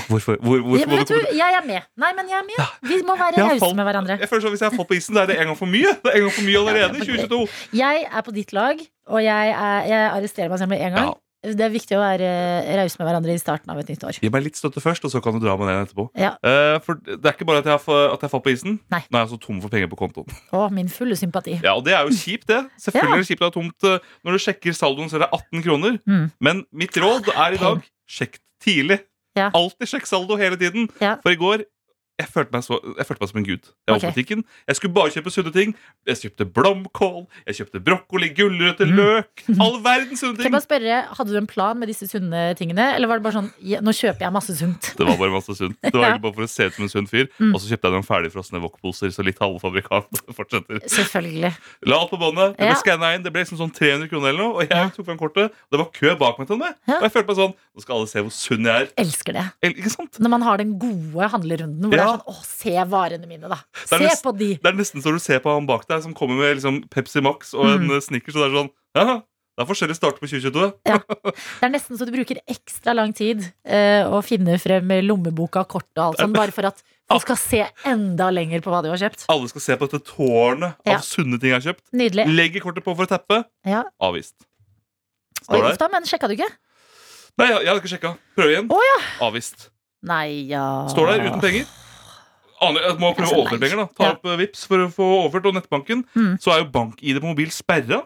S4: Hvorfor? Hvor, hvorfor
S3: Ja,
S4: må
S3: men vet
S4: du-
S3: du, jeg er med. Nei, men jeg er med. Vi må være
S4: Jeg har
S3: rause
S4: falt-
S3: med hverandre.
S4: Jeg føler sånn Hvis jeg har fått på isen, da er det en gang for mye. Det er en gang for mye
S3: Ja,
S4: allerede
S3: det er
S4: i
S3: for
S4: 2022.
S3: Jeg er på ditt lag, og jeg, er, jeg arresterer meg selv med en gang.
S4: Ja.
S3: Det er viktig å være rause med hverandre i starten av et nytt år.
S4: Gi meg litt støtte først, og så kan du dra meg ned etterpå.
S3: Ja.
S4: Eh, for Det er ikke bare at jeg, har fa- at jeg falt på isen.
S3: Nei.
S4: Nå er jeg så tom for penger på kontoen.
S3: Og min fulle sympati.
S4: Ja, Og det er jo kjipt, det. Selvfølgelig
S3: Ja.
S4: er det kjipt å ha tomt eh, når du sjekker saldoen, så er det 18 kroner.
S3: Mm.
S4: Men mitt råd er i dag sjekk tidlig.
S3: Ja.
S4: Alltid sjekk saldo hele tiden.
S3: Ja.
S4: For i går jeg følte, meg så, jeg følte meg som en gud. Jeg var
S3: Ok.
S4: på butikken, jeg skulle bare kjøpe sunne ting. Jeg kjøpte blomkål, jeg kjøpte brokkoli, gulrøtter,
S3: Mm.
S4: løk. All verdens sunne
S3: Kan jeg
S4: ting.
S3: bare spørre, Hadde du en plan med disse sunne tingene, eller var det bare sånn ja, Nå kjøper jeg masse sunt.
S4: Det var bare masse sunt. Det var
S3: Ja.
S4: egentlig bare for å se ut som en sunn fyr.
S3: Mm.
S4: Og så kjøpte jeg noen ferdigfrosne wokposer, så litt halvfabrikat fortsetter.
S3: Selvfølgelig.
S4: La alt på båndet. Det ble
S3: Ja.
S4: skanna inn. Det ble liksom sånn 300 kroner eller noe. Og jeg tok fram kortet. og Det var kø bak meg til meg.
S3: Ja.
S4: Og jeg følte meg sånn Nå skal alle se hvor sunn jeg er.
S3: Elsker det.
S4: El- Ikke sant?
S3: Når man har den gode handlerunden hvor det
S4: Ja.
S3: er sånn Å, se varene mine, da.
S4: Det
S3: Se
S4: er nesten-
S3: på de.
S4: Det er nesten så du ser på han bak deg som kommer med liksom Pepsi Max og en
S3: Mm.
S4: eh, Snickers, og det er sånn «Haha, Det er forskjellig start på 2022.
S3: Det er nesten så du bruker ekstra lang tid eh, å finne frem lommeboka, kortet og alt sånt, bare for at
S4: Ah.
S3: folk skal se enda lenger på hva du har kjøpt.
S4: Alle skal se på dette tårnet
S3: Ja.
S4: av sunne ting jeg har kjøpt.
S3: Nydelig.
S4: Legger kortet på for å teppe.
S3: Ja.
S4: Avvist.
S3: Oi,
S4: Står der.
S3: uff da, men sjekka du ikke?
S4: Nei, jeg, jeg hadde ikke sjekka. Prøv igjen.
S3: Å,
S4: Avvist.
S3: Nei, ja
S4: Står der uten penger. Aner, jeg må prøve
S3: Altså,
S4: å overføre
S3: nei.
S4: penger. da Ta
S3: Ja.
S4: opp eh, Vips for å få overført, og nettbanken.
S3: Mm.
S4: Så er jo bank-ID på mobil sperra.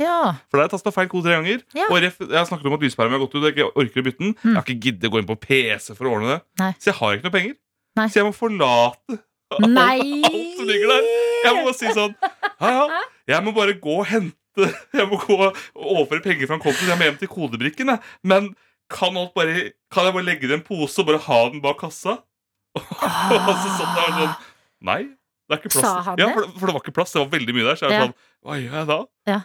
S3: Ja.
S4: For der er tasta feil kode tre ganger.
S3: Ja. Mm.
S4: Og ref, jeg har snakket om at lyspæren min har gått ut. og Jeg ikke orker å bytte den Jeg har ikke giddet å gå inn på PC for å ordne det.
S3: Nei.
S4: Så jeg har ikke noe penger.
S3: Nei.
S4: Så jeg må forlate alt-
S3: Nei!
S4: alt som ligger der. Jeg må bare si sånn Ja, ja. Jeg må bare gå og hente Jeg må gå og overføre penger fra en konto. så Jeg må hjem til kodebrikken. Jeg. Men kan, alt bare, kan jeg bare legge det i en pose og bare ha den bak kassa? Og så satt jeg der sånn Nei, det er ikke plass.
S3: Sa han
S4: ja,
S3: det?
S4: for, for det var ikke plass. Det var veldig mye der. Så jeg
S3: Ja.
S4: var sånn Hva gjør jeg da?
S3: Ja.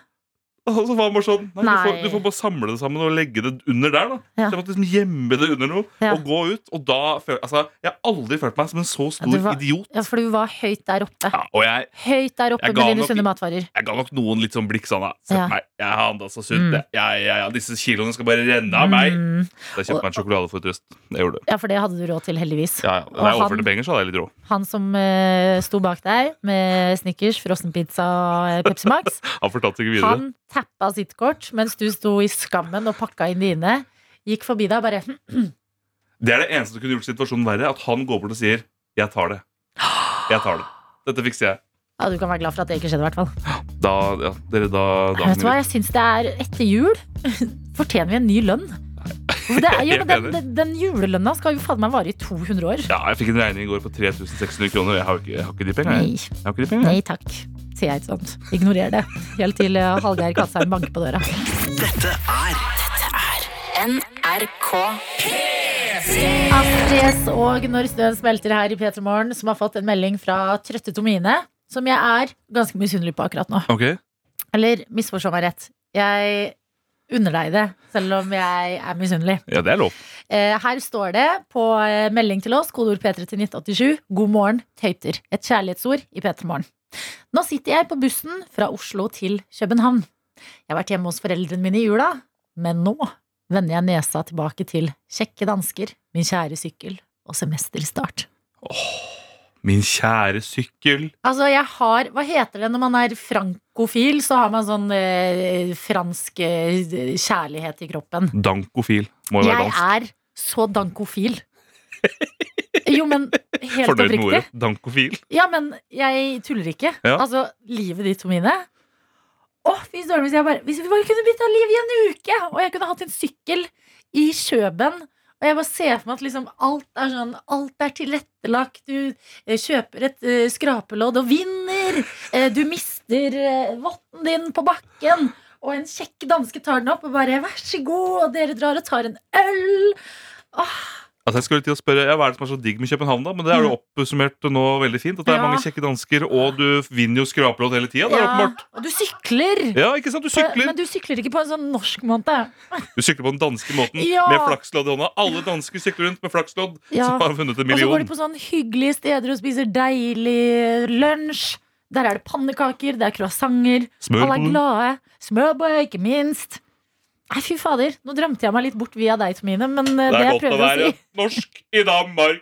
S4: Og så var han bare sånn Nei, Du, får,
S3: Nei.
S4: du får bare samle det sammen og legge det under der. da
S3: Ja.
S4: Så jeg måtte liksom gjemme det under noe
S3: Ja.
S4: og gå ut. Og da føl, altså, Jeg har aldri følt meg som en så
S3: Ja,
S4: stor
S3: du var-
S4: idiot.
S3: Ja, for du var høyt der oppe.
S4: Ja, og jeg,
S3: Høyt der oppe
S4: Jeg
S3: med
S4: ga
S3: dine
S4: nok-
S3: sunne matvarer.
S4: jeg ga nok noen litt sånn blikk sånn. da. Se
S3: Ja.
S4: på meg, jeg har anda så sunt.
S3: Mm.
S4: Jeg, jeg, jeg, disse kiloene skal bare renne av meg.
S3: Mm.
S4: Da kjøpte jeg meg en sjokolade for et trøst. Det gjorde jeg.
S3: Ja, for det hadde du råd til, heldigvis.
S4: Ja, ja. Da
S3: Og
S4: jeg
S3: han-
S4: overførte penger, så hadde jeg litt råd.
S3: Han som eh, sto bak deg med Snickers, frossenpizza og Pepsi Max,
S4: Han fortalte ikke videre.
S3: han tappa sitt kort mens du sto i skammen og pakka inn dine. Gikk forbi deg og bare hm,
S4: Det er det eneste som kunne gjort situasjonen verre, at han går bort og sier 'jeg tar det'. Jeg tar det. Dette fikser jeg.
S3: ja, Du kan være glad for at det ikke skjedde, i hvert fall.
S4: Da, ja, dere, da, da
S3: Vet du hva, jeg syns det er Etter jul fortjener vi en ny lønn. For Det er, jo,
S4: Jeg
S3: men den,
S4: mener.
S3: den, den julelønna skal jo faen meg vare i 200 år.
S4: Ja, jeg fikk en regning i går på 3600 kroner. Jeg har jo ikke, jeg har ikke de pengene. jeg.
S3: Nei,
S4: Jeg har ikke de pengene.
S3: nei takk, sier jeg ikke sant. Ignorer det. Helt til eh, Hallgeir Kvadsheim banker på døra.
S2: NRK
S3: Astrid og Når snøen smelter her i P3 Morgen, som har fått en melding fra trøtte Tomine, som jeg er ganske misunnelig på akkurat nå.
S4: Ok,
S3: Eller misforstå meg rett. Jeg unner deg det, selv om jeg er misunnelig.
S4: ja, det er lov.
S3: Eh, her står det på eh, melding til oss, kodeord P3 til 1987, 'God morgen, tøyter'. Et kjærlighetsord i P3 Morgen. Nå sitter jeg på bussen fra Oslo til København. Jeg har vært hjemme hos foreldrene mine i jula, men nå vender jeg nesa tilbake til kjekke dansker, min kjære sykkel og semesterstart.
S4: Min kjære sykkel.
S3: Altså, jeg har Hva heter det når man er frankofil? Så har man sånn eh, fransk eh, kjærlighet i kroppen.
S4: Dankofil. Må jo være
S3: Jeg
S4: dansk.
S3: er så dankofil. Jo, men helt
S4: Fornøyd med
S3: oppriktig.
S4: ordet. Dankofil.
S3: Ja, men jeg tuller ikke.
S4: Ja.
S3: Altså, livet ditt, Tomine Å, fy søren, hvis jeg bare Hvis vi bare kunne bytta liv i en uke, og jeg kunne hatt en sykkel i Kjøben og jeg bare ser for meg at liksom alt er sånn Alt er tilrettelagt. Du eh, kjøper et eh, skrapelodd og vinner. Eh, du mister eh, votten din på bakken. Og en kjekk danske tar den opp og bare 'vær så god', og dere drar og tar en øl.
S4: Altså, jeg skulle til å spørre, ja, Hva er det som er så digg med København, da? Men det er jo oppsummert nå veldig fint. At det er
S3: Mm. Ja.
S4: mange kjekke dansker, og du vinner jo skrapelodd hele tida.
S3: Ja,
S4: Ja.
S3: og du sykler. Eh,
S4: ja, ikke sant? Du sykler.
S3: Men du sykler ikke på en sånn norsk måte.
S4: Du sykler på den danske måten
S3: Ja.
S4: med flakslodd i hånda. Alle dansker sykler rundt med flakslodd,
S3: Ja.
S4: som har vunnet
S3: Og så
S4: en
S3: går
S4: million.
S3: de på sånn hyggelige steder og spiser deilig lunsj. Der er det pannekaker, det er croissanter. Alle er
S4: Smørbrød.
S3: glade. Smørbrød, ikke minst. Nei, fy fader. Nå drømte jeg meg litt bort via deg, Tomine, men eh, det
S4: Det er
S3: jeg
S4: godt å
S3: prøver å
S4: være
S3: si,
S4: norsk i Danmark.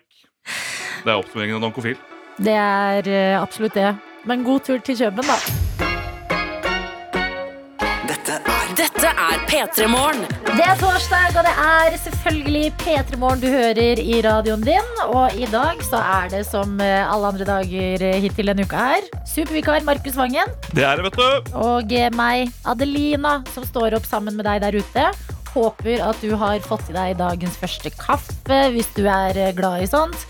S4: Det er oppsummeringen av Dankofil.
S3: det er eh, absolutt det. Men god tur til Kjøben, da.
S2: Dette er P3 Morgen.
S3: Det er torsdag, og det er selvfølgelig P3 Morgen du hører i radioen din. Og i dag så er det som eh, alle andre dager eh, hittil denne uka her, supervikar Markus Vangen.
S4: Det er det, vet du.
S3: og eh, meg, Adelina, som står opp sammen med deg der ute. Håper at du har fått i deg dagens første kaffe, hvis du er eh, glad i sånt.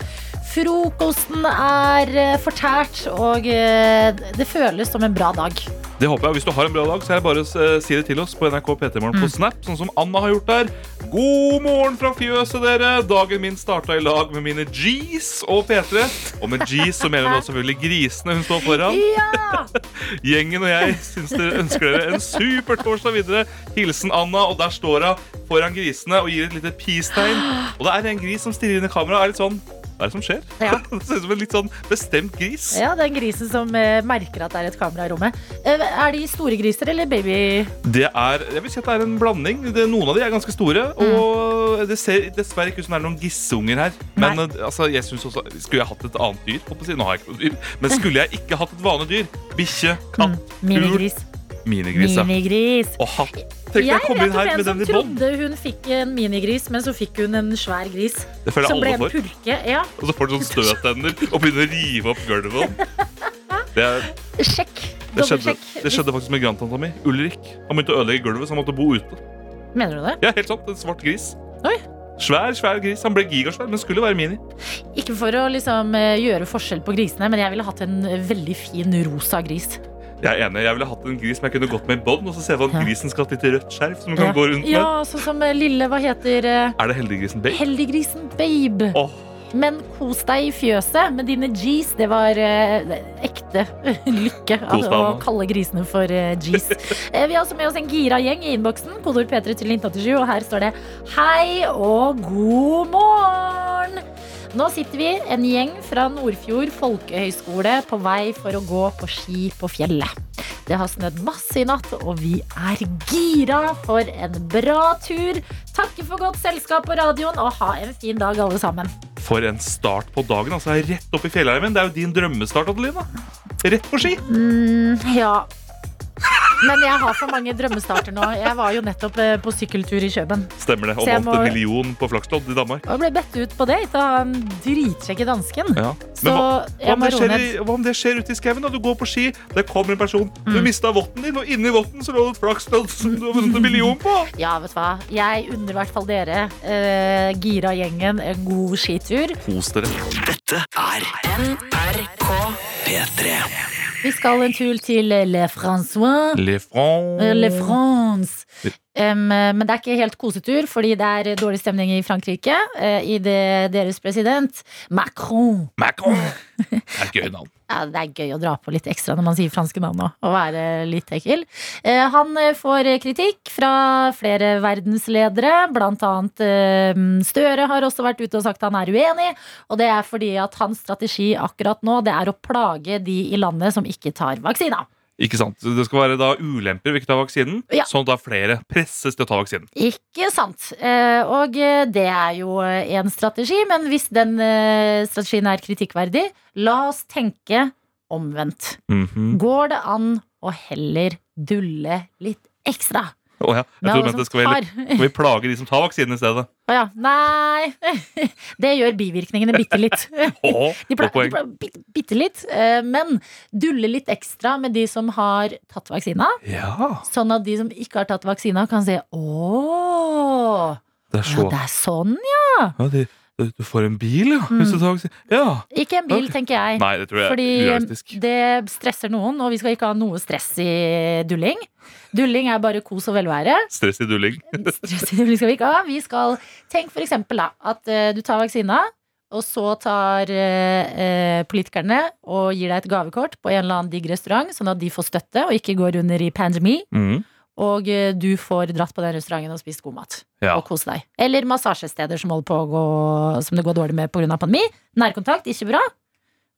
S3: Frokosten er eh, fortært, og eh, det føles som en bra dag.
S4: Det håper jeg. Hvis du har en bra dag, så er det bare å eh, si det til oss på NRK PT-morgen
S3: Mm.
S4: på Snap, sånn som Anna har gjort der. God morgen fra fjøset, dere! Dagen min starta i lag med mine G's og P3. Og med G's så mener hun da selvfølgelig grisene hun står foran.
S3: Ja!
S4: Gjengen og jeg syns dere ønsker dere en super torsdag videre. Hilsen Anna, og der står hun foran grisene og gir et lite peace-tegn. Og det er en gris som stirrer inn i kameraet og er litt sånn Hva er det som skjer?
S3: Ja.
S4: Det ser ut som en litt sånn bestemt gris.
S3: ja, den grisen som eh, merker at det er et kamera i rommet. Eh, Er de store griser eller baby?
S4: Det er, jeg vil si at det er en blanding. Det, noen av de er ganske store.
S3: Mm.
S4: Og det ser dessverre ikke ut som det er noen gisseunger her. Men
S3: Nei.
S4: eh, altså, jeg synes også, Skulle jeg hatt et annet dyr? Holdt på å si, nå har jeg ikke noe dyr. Men skulle jeg ikke hatt et vanlig dyr? Bikkje, katt,
S3: Mm. Minigris.
S4: fugl, minigris. ja.
S3: Minigris.
S4: Og hatt. Tenk deg å
S3: Jeg
S4: komme
S3: vet
S4: inn
S3: om
S4: her
S3: en
S4: med
S3: som
S4: den i bånd.
S3: trodde hun fikk en minigris, men så fikk hun en svær gris.
S4: Det føler
S3: Som
S4: jeg
S3: ble
S4: alle
S3: en
S4: får.
S3: pulke. Ja.
S4: Og så får du sånn støttenner og begynner å rive opp gulvet. sånn. Det, er-
S3: Sjekk.
S4: det, skjedde,
S3: Dobbeltsjekk.
S4: det skjedde faktisk med grandtanta mi. Ulrik. Han begynte å ødelegge gulvet, så han måtte bo ute.
S3: Mener du det?
S4: Ja, helt sant. En svart gris.
S3: Oi.
S4: Svær, svær gris. Han ble gigasvær, men skulle være mini.
S3: Ikke for å liksom eh, gjøre forskjell på grisene, men jeg ville hatt en veldig fin rosa gris.
S4: Jeg er enig, jeg ville hatt en gris som jeg kunne gått med i bånd. Og så ser jeg for meg
S3: Ja.
S4: at grisen skal ha et lite rødt skjerf som hun kan
S3: Ja.
S4: gå rundt med.
S3: Ja, sånn som eh, lille, hva heter eh,
S4: Er det heldiggrisen Bale?
S3: Heldiggrisen Babe.
S4: Åh,
S3: Men kos deg i fjøset med dine G's. Det var eh, ekte lykke
S4: Kos deg,
S3: av å
S4: Anna.
S3: kalle grisene for eh, G's. Eh, Vi har også med oss en gira gjeng i innboksen. Kodord P3 til 1987, og her står det Hei og god morgen! Nå sitter vi, en gjeng fra Nordfjord folkehøgskole, på vei for å gå på ski på fjellet. Det har snødd masse i natt, og vi er gira for en bra tur. Takker for godt selskap på radioen, og ha en fin dag, alle sammen.
S4: For en start på dagen. altså Jeg er Rett opp i fjellheimen. Det er jo din drømmestart, Adelina. Rett på ski.
S3: Mm, Ja. Men jeg har for mange drømmestarter nå. Jeg var jo nettopp eh, på sykkeltur i Kjøben.
S4: Stemmer det. Og
S3: Så jeg
S4: vant en
S3: må-
S4: million på flakslodd i Danmark.
S3: Og ble bedt ut på det av han dritsjekke dansken.
S4: Ja.
S3: Så
S4: Men hva, hva,
S3: jeg
S4: om
S3: må
S4: det
S3: roe
S4: skjer,
S3: ned. Mm.
S4: i- hva om det skjer ute i skauen? da? Du går på ski, der kommer en person. Du mista votten din, og inni votten så lå det et flakslodd som du har vunnet en million på.
S3: Ja, vet du hva. Jeg unner i hvert fall dere, eh, gira gjengen, en god skitur.
S4: Kos dere.
S1: Dette er
S2: NRK
S1: P3.
S3: Vi skal en tur til Le Francois.
S4: Le France.
S3: Eh, Le France.
S4: Vi-
S3: Em, eh, men det er ikke helt kosetur, fordi det er dårlig stemning i Frankrike. eh, I det deres president, Macron.
S4: Macron. Det er et gøy navn.
S3: Ja, det er gøy å dra på litt ekstra når man sier franske navn nå, og være litt ekkel. Eh, Han eh, får kritikk fra flere verdensledere, blant annet eh, Støre har også vært ute og sagt han er uenig, og det er fordi at hans strategi akkurat nå, det er å plage de i landet som ikke tar vaksina.
S4: Ikke sant? Det skal være da ulemper ved ikke å ta vaksinen,
S3: Ja.
S4: sånn at da flere presses til å ta vaksinen.
S3: Ikke sant. Eh, Og eh, det er jo eh, en strategi, men hvis den eh, strategien er kritikkverdig, la oss tenke omvendt. Går det an å heller dulle litt ekstra?
S4: Å ja. Jeg
S3: med
S4: tror du
S3: alle
S4: mente det
S3: som
S4: skal, være,
S3: tar.
S4: skal vi plage de som tar vaksinen i stedet.
S3: Å ja. Nei. Det gjør bivirkningene bitte litt.
S4: Åh,
S3: De
S4: godt
S3: pleier
S4: poeng.
S3: de bitte, bitte litt. eh, Men dulle litt ekstra med de som har tatt vaksina.
S4: Ja,
S3: Sånn at de som ikke har tatt vaksina, kan si ååå.
S4: det er
S3: Ja,
S4: så
S3: det er sånn, ja.
S4: ja, de, de- Du får en bil, ja. Hvis du tar vaksinen. Ja.
S3: Ikke en bil,
S4: Ok.
S3: tenker jeg.
S4: Nei, det tror jeg
S3: Eh, Fordi
S4: er urealistisk.
S3: det stresser noen, og vi skal ikke ha noe stress i dulling. Dulling er bare kos og velvære.
S4: Stress i dulling.
S3: Stress i dulling skal vi ikke ha. Vi skal, tenk for eksempel da, at eh, du tar vaksina, og så tar eh, eh, politikerne og gir deg et gavekort på en eller annen digg restaurant, sånn at de får støtte og ikke går under i pandemi.
S4: Mm.
S3: Og eh, du får dratt på den restauranten og spist god mat.
S4: Ja.
S3: Og kose deg. Eller massasjesteder som, holder på å gå, som det går dårlig med pga. pandemi. Nærkontakt, ikke bra.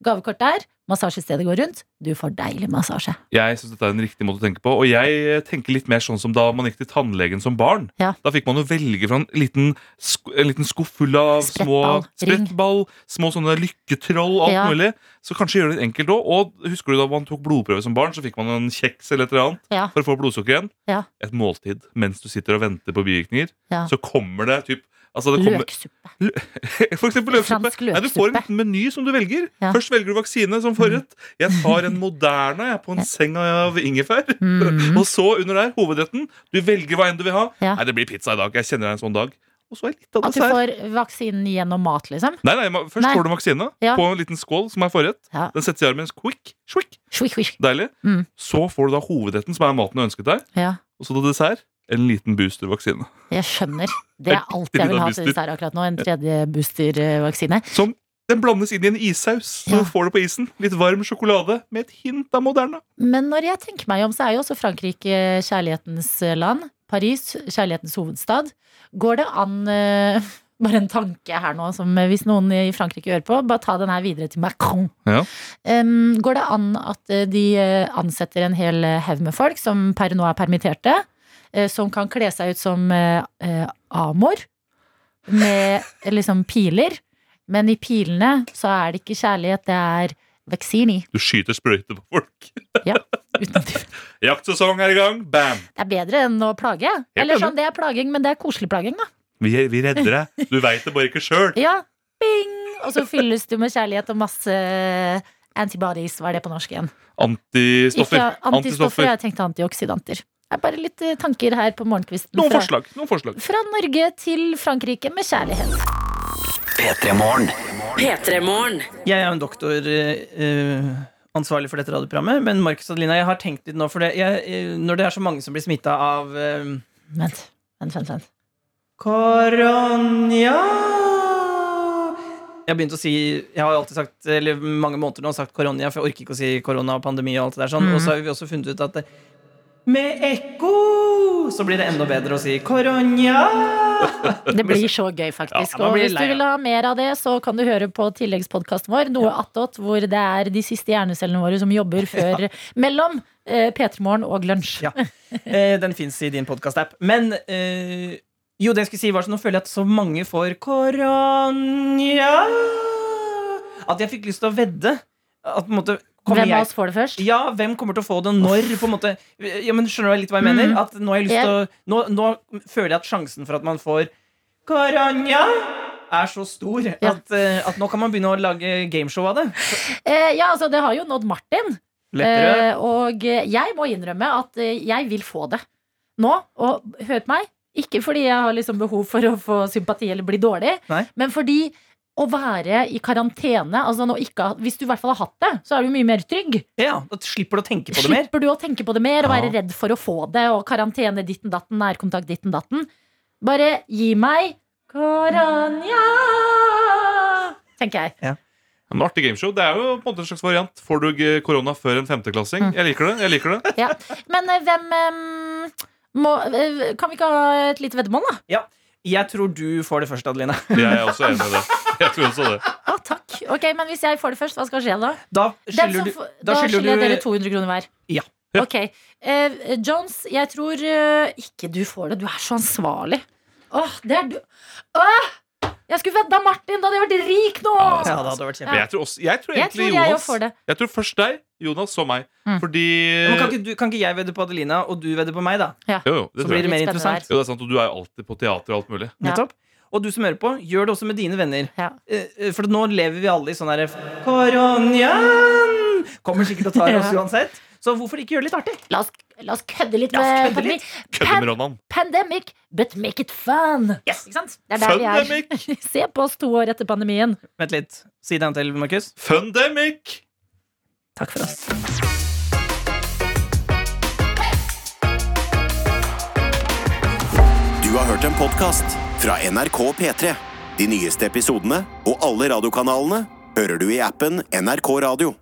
S3: Gavekort der. Massasjestedet går rundt. Du får deilig massasje.
S4: Jeg syns dette er en riktig måte å tenke på. Og jeg tenker litt mer sånn som da man gikk til tannlegen som barn.
S3: Ja.
S4: Da fikk man jo velge fra en liten, sk en liten skuff full av små
S3: Sprettball, ring.
S4: sprettball, små sånne lykketroll og alt
S3: Ja.
S4: mulig. Så kanskje gjøre det enkelt òg. Og husker du da man tok blodprøve som barn, så fikk man en kjeks eller et eller annet
S3: Ja.
S4: for å få blodsukker igjen?
S3: Ja.
S4: Et måltid mens du sitter og venter på bivirkninger.
S3: Ja.
S4: Så kommer det typ altså det kommer,
S3: Løksuppe.
S4: For eksempel løksuppe.
S3: Fransk
S4: Nei, du får
S3: løksuppe.
S4: en meny som du velger.
S3: Ja.
S4: Først velger du vaksine som forrett. Jeg tar en Moderna jeg, på en seng av ingefær.
S3: Mm.
S4: Og så under der, hovedretten. Du velger hva enn du vil ha.
S3: Ja.
S4: Nei, det blir pizza i dag. Jeg kjenner det er en sånn dag. Og så er litt av
S3: At du
S4: dessert.
S3: får vaksinen gjennom mat, liksom.
S4: Nei, nei, ma- Først
S3: Nei.
S4: får du vaksine
S3: Ja.
S4: på en liten skål som er forrett.
S3: Ja.
S4: Den settes i armen. Quick, swick,
S3: Swish, swish.
S4: deilig.
S3: Mm.
S4: Så får du da hovedretten, som er maten du ønsket deg.
S3: Ja.
S4: Og så til dessert en liten boostervaksine.
S3: Jeg skjønner. Det er alt jeg vil ha til dessert akkurat nå. En tredje eh, boostervaksine.
S4: Som den blandes inn i en issaus. Så
S3: Ja.
S4: får du på isen litt varm sjokolade med et hint av Moderna.
S3: Men når jeg tenker meg om, så er jo også Frankrike kjærlighetens eh, land. Paris, kjærlighetens hovedstad. Går det an eh, Bare en tanke her nå, som eh, hvis noen i Frankrike hører på, bare ta den her videre til Macron.
S4: Ja.
S3: Em, går det an at eh, de eh, ansetter en hel eh, haug med folk som per nå er permitterte, eh, som kan kle seg ut som eh, eh, amor med eh, liksom piler? Men i pilene så er det ikke kjærlighet, det er vaksini.
S4: Du skyter sprøyter på folk.
S3: Uten tvil.
S4: Jaktsesong er i gang. Bam!
S3: Det er bedre enn å plage. Eller sånn, det er plaging, men det er koselig plaging, da.
S4: Vi, vi redder deg. Du veit det bare ikke sjøl.
S3: Ja, bing! Og så fylles du med kjærlighet og masse eh, antibodies, hva er det på norsk igjen?
S4: Antistoffer.
S3: Ikke antistoffer,
S4: Antistoffer.
S3: jeg tenkte antioksidanter. Det er bare litt eh, tanker her på morgenkvisten.
S4: Noen
S3: fra,
S4: forslag. Noen forslag.
S3: fra Norge til Frankrike med kjærlighet.
S1: P3 Morgen.
S2: P3-morgen.
S5: Jeg er jo en doktor eh, eh, ansvarlig for dette radioprogrammet, men Markus og Adelina, jeg har tenkt litt nå, for det, jeg, eh, når det er så mange som blir smitta av eh,
S3: Vent, vent, vent. vent.
S5: Koronia Jeg har begynt å si Jeg har alltid sagt Eller mange måneder nå sagt korona, for jeg orker ikke å si korona og pandemi og alt det der sånn. Og så har vi også funnet ut at det, med ekko så blir det enda bedre å si korona.
S3: Det blir så gøy, faktisk.
S5: Ja, man
S3: og
S5: blir
S3: hvis du
S5: lei av
S3: vil ha mer av det, så kan du høre på tilleggspodkasten vår, Noe attåt, hvor det er de siste hjernecellene våre som jobber før mellom eh, P3 Morgen og lunsj.
S5: Ja. Eh, den fins i din podkast-app. Men eh, jo, det jeg skulle si var så nå føler jeg at så mange får korona At jeg fikk lyst til å vedde. At på en måte kommer
S3: Hvem
S5: jeg-
S3: av oss får det først?
S5: Ja, hvem kommer til å få det når? På en måte. Ja, men Skjønner du litt hva jeg mener? At nå, har jeg lyst til å, nå, nå føler jeg at sjansen for at man får korona er så stor
S3: Ja.
S5: at, eh, at nå kan man begynne å lage gameshow av det.
S3: Eh, ja, altså, det har jo nådd Martin.
S5: Lettere.
S3: Eh, og eh, jeg må innrømme at eh, jeg vil få det nå. Og hør på meg. Ikke fordi jeg har liksom behov for å få sympati eller bli dårlig,
S5: Nei.
S3: men fordi å være i karantene altså nå ikke, ha- Hvis du i hvert fall har hatt det, så er du mye mer trygg.
S5: Ja, Da slipper du å tenke på det mer.
S3: Slipper du å tenke på det mer og
S5: Ja.
S3: være redd for å få det, og karantene ditten datten, nærkontakt ditten datten. Bare gi meg Koranja, tenker jeg.
S4: En artig gameshow. Det er jo på en måte en slags variant. Får du ikke korona før en femteklassing? Jeg liker det. jeg liker det
S3: Ja. Men eh, hvem eh, må, eh, Kan vi ikke ha et lite veddemål, da?
S5: Jeg tror du får det først, Adeline.
S4: Jeg er også enig i det. Jeg tror også det.
S3: Å, takk. Ok, Men hvis jeg får det først, hva skal skje da?
S5: Da
S3: Den
S5: skylder
S3: som
S5: du
S3: får-
S5: da
S3: da
S5: skylder
S3: skylder
S5: du-
S3: dere 200 kroner hver.
S5: Ja.
S4: Ja.
S3: Ok. Eh, Jones, jeg tror eh, ikke du får det. Du er så ansvarlig. Åh, det er du Åh! Jeg skulle vedda Martin! Da hadde jeg vært rik nå!
S5: Ja, det hadde vært
S4: Men
S5: kjempe.
S4: jeg tror, også, jeg tror
S3: Jeg
S4: egentlig
S3: tror jeg jo
S4: Jonas
S3: får det.
S4: Jeg tror først deg, Jonas, så meg.
S3: Mm.
S4: Fordi
S5: Men kan, ikke du, kan ikke jeg vedde på Adelina, og du vedder på meg, da?
S4: Jo, jo, det
S5: Så
S4: tror
S5: blir
S4: jeg.
S5: det mer
S3: Litt spennende
S5: interessant.
S4: Jo, det er sant, og du er jo alltid på teater og alt mulig.
S3: Ja.
S5: Nettopp. Og du som hører på, gjør det også med dine venner.
S3: Ja.
S5: Eh, eh, For nå lever vi alle i sånn herre Koronaen! Kommer sikkert og tar oss
S3: Ja.
S5: uansett. Så hvorfor ikke gjøre det litt artig?
S3: La oss, la oss kødde litt
S5: La oss
S3: med
S5: kødde
S3: pandemi.
S5: litt.
S4: Kødder med Ronan.
S3: Pandemic, but make it fun. Ikke sant? Det er der vi er. Se på oss to år etter pandemien.
S5: Vent litt. Si det en til, Markus.
S4: Fundemic!
S3: Takk for oss.
S1: Du har hørt en podcast fra NRK P3. De nyeste episodene og alle radiokanalene hører du i appen NRK Radio.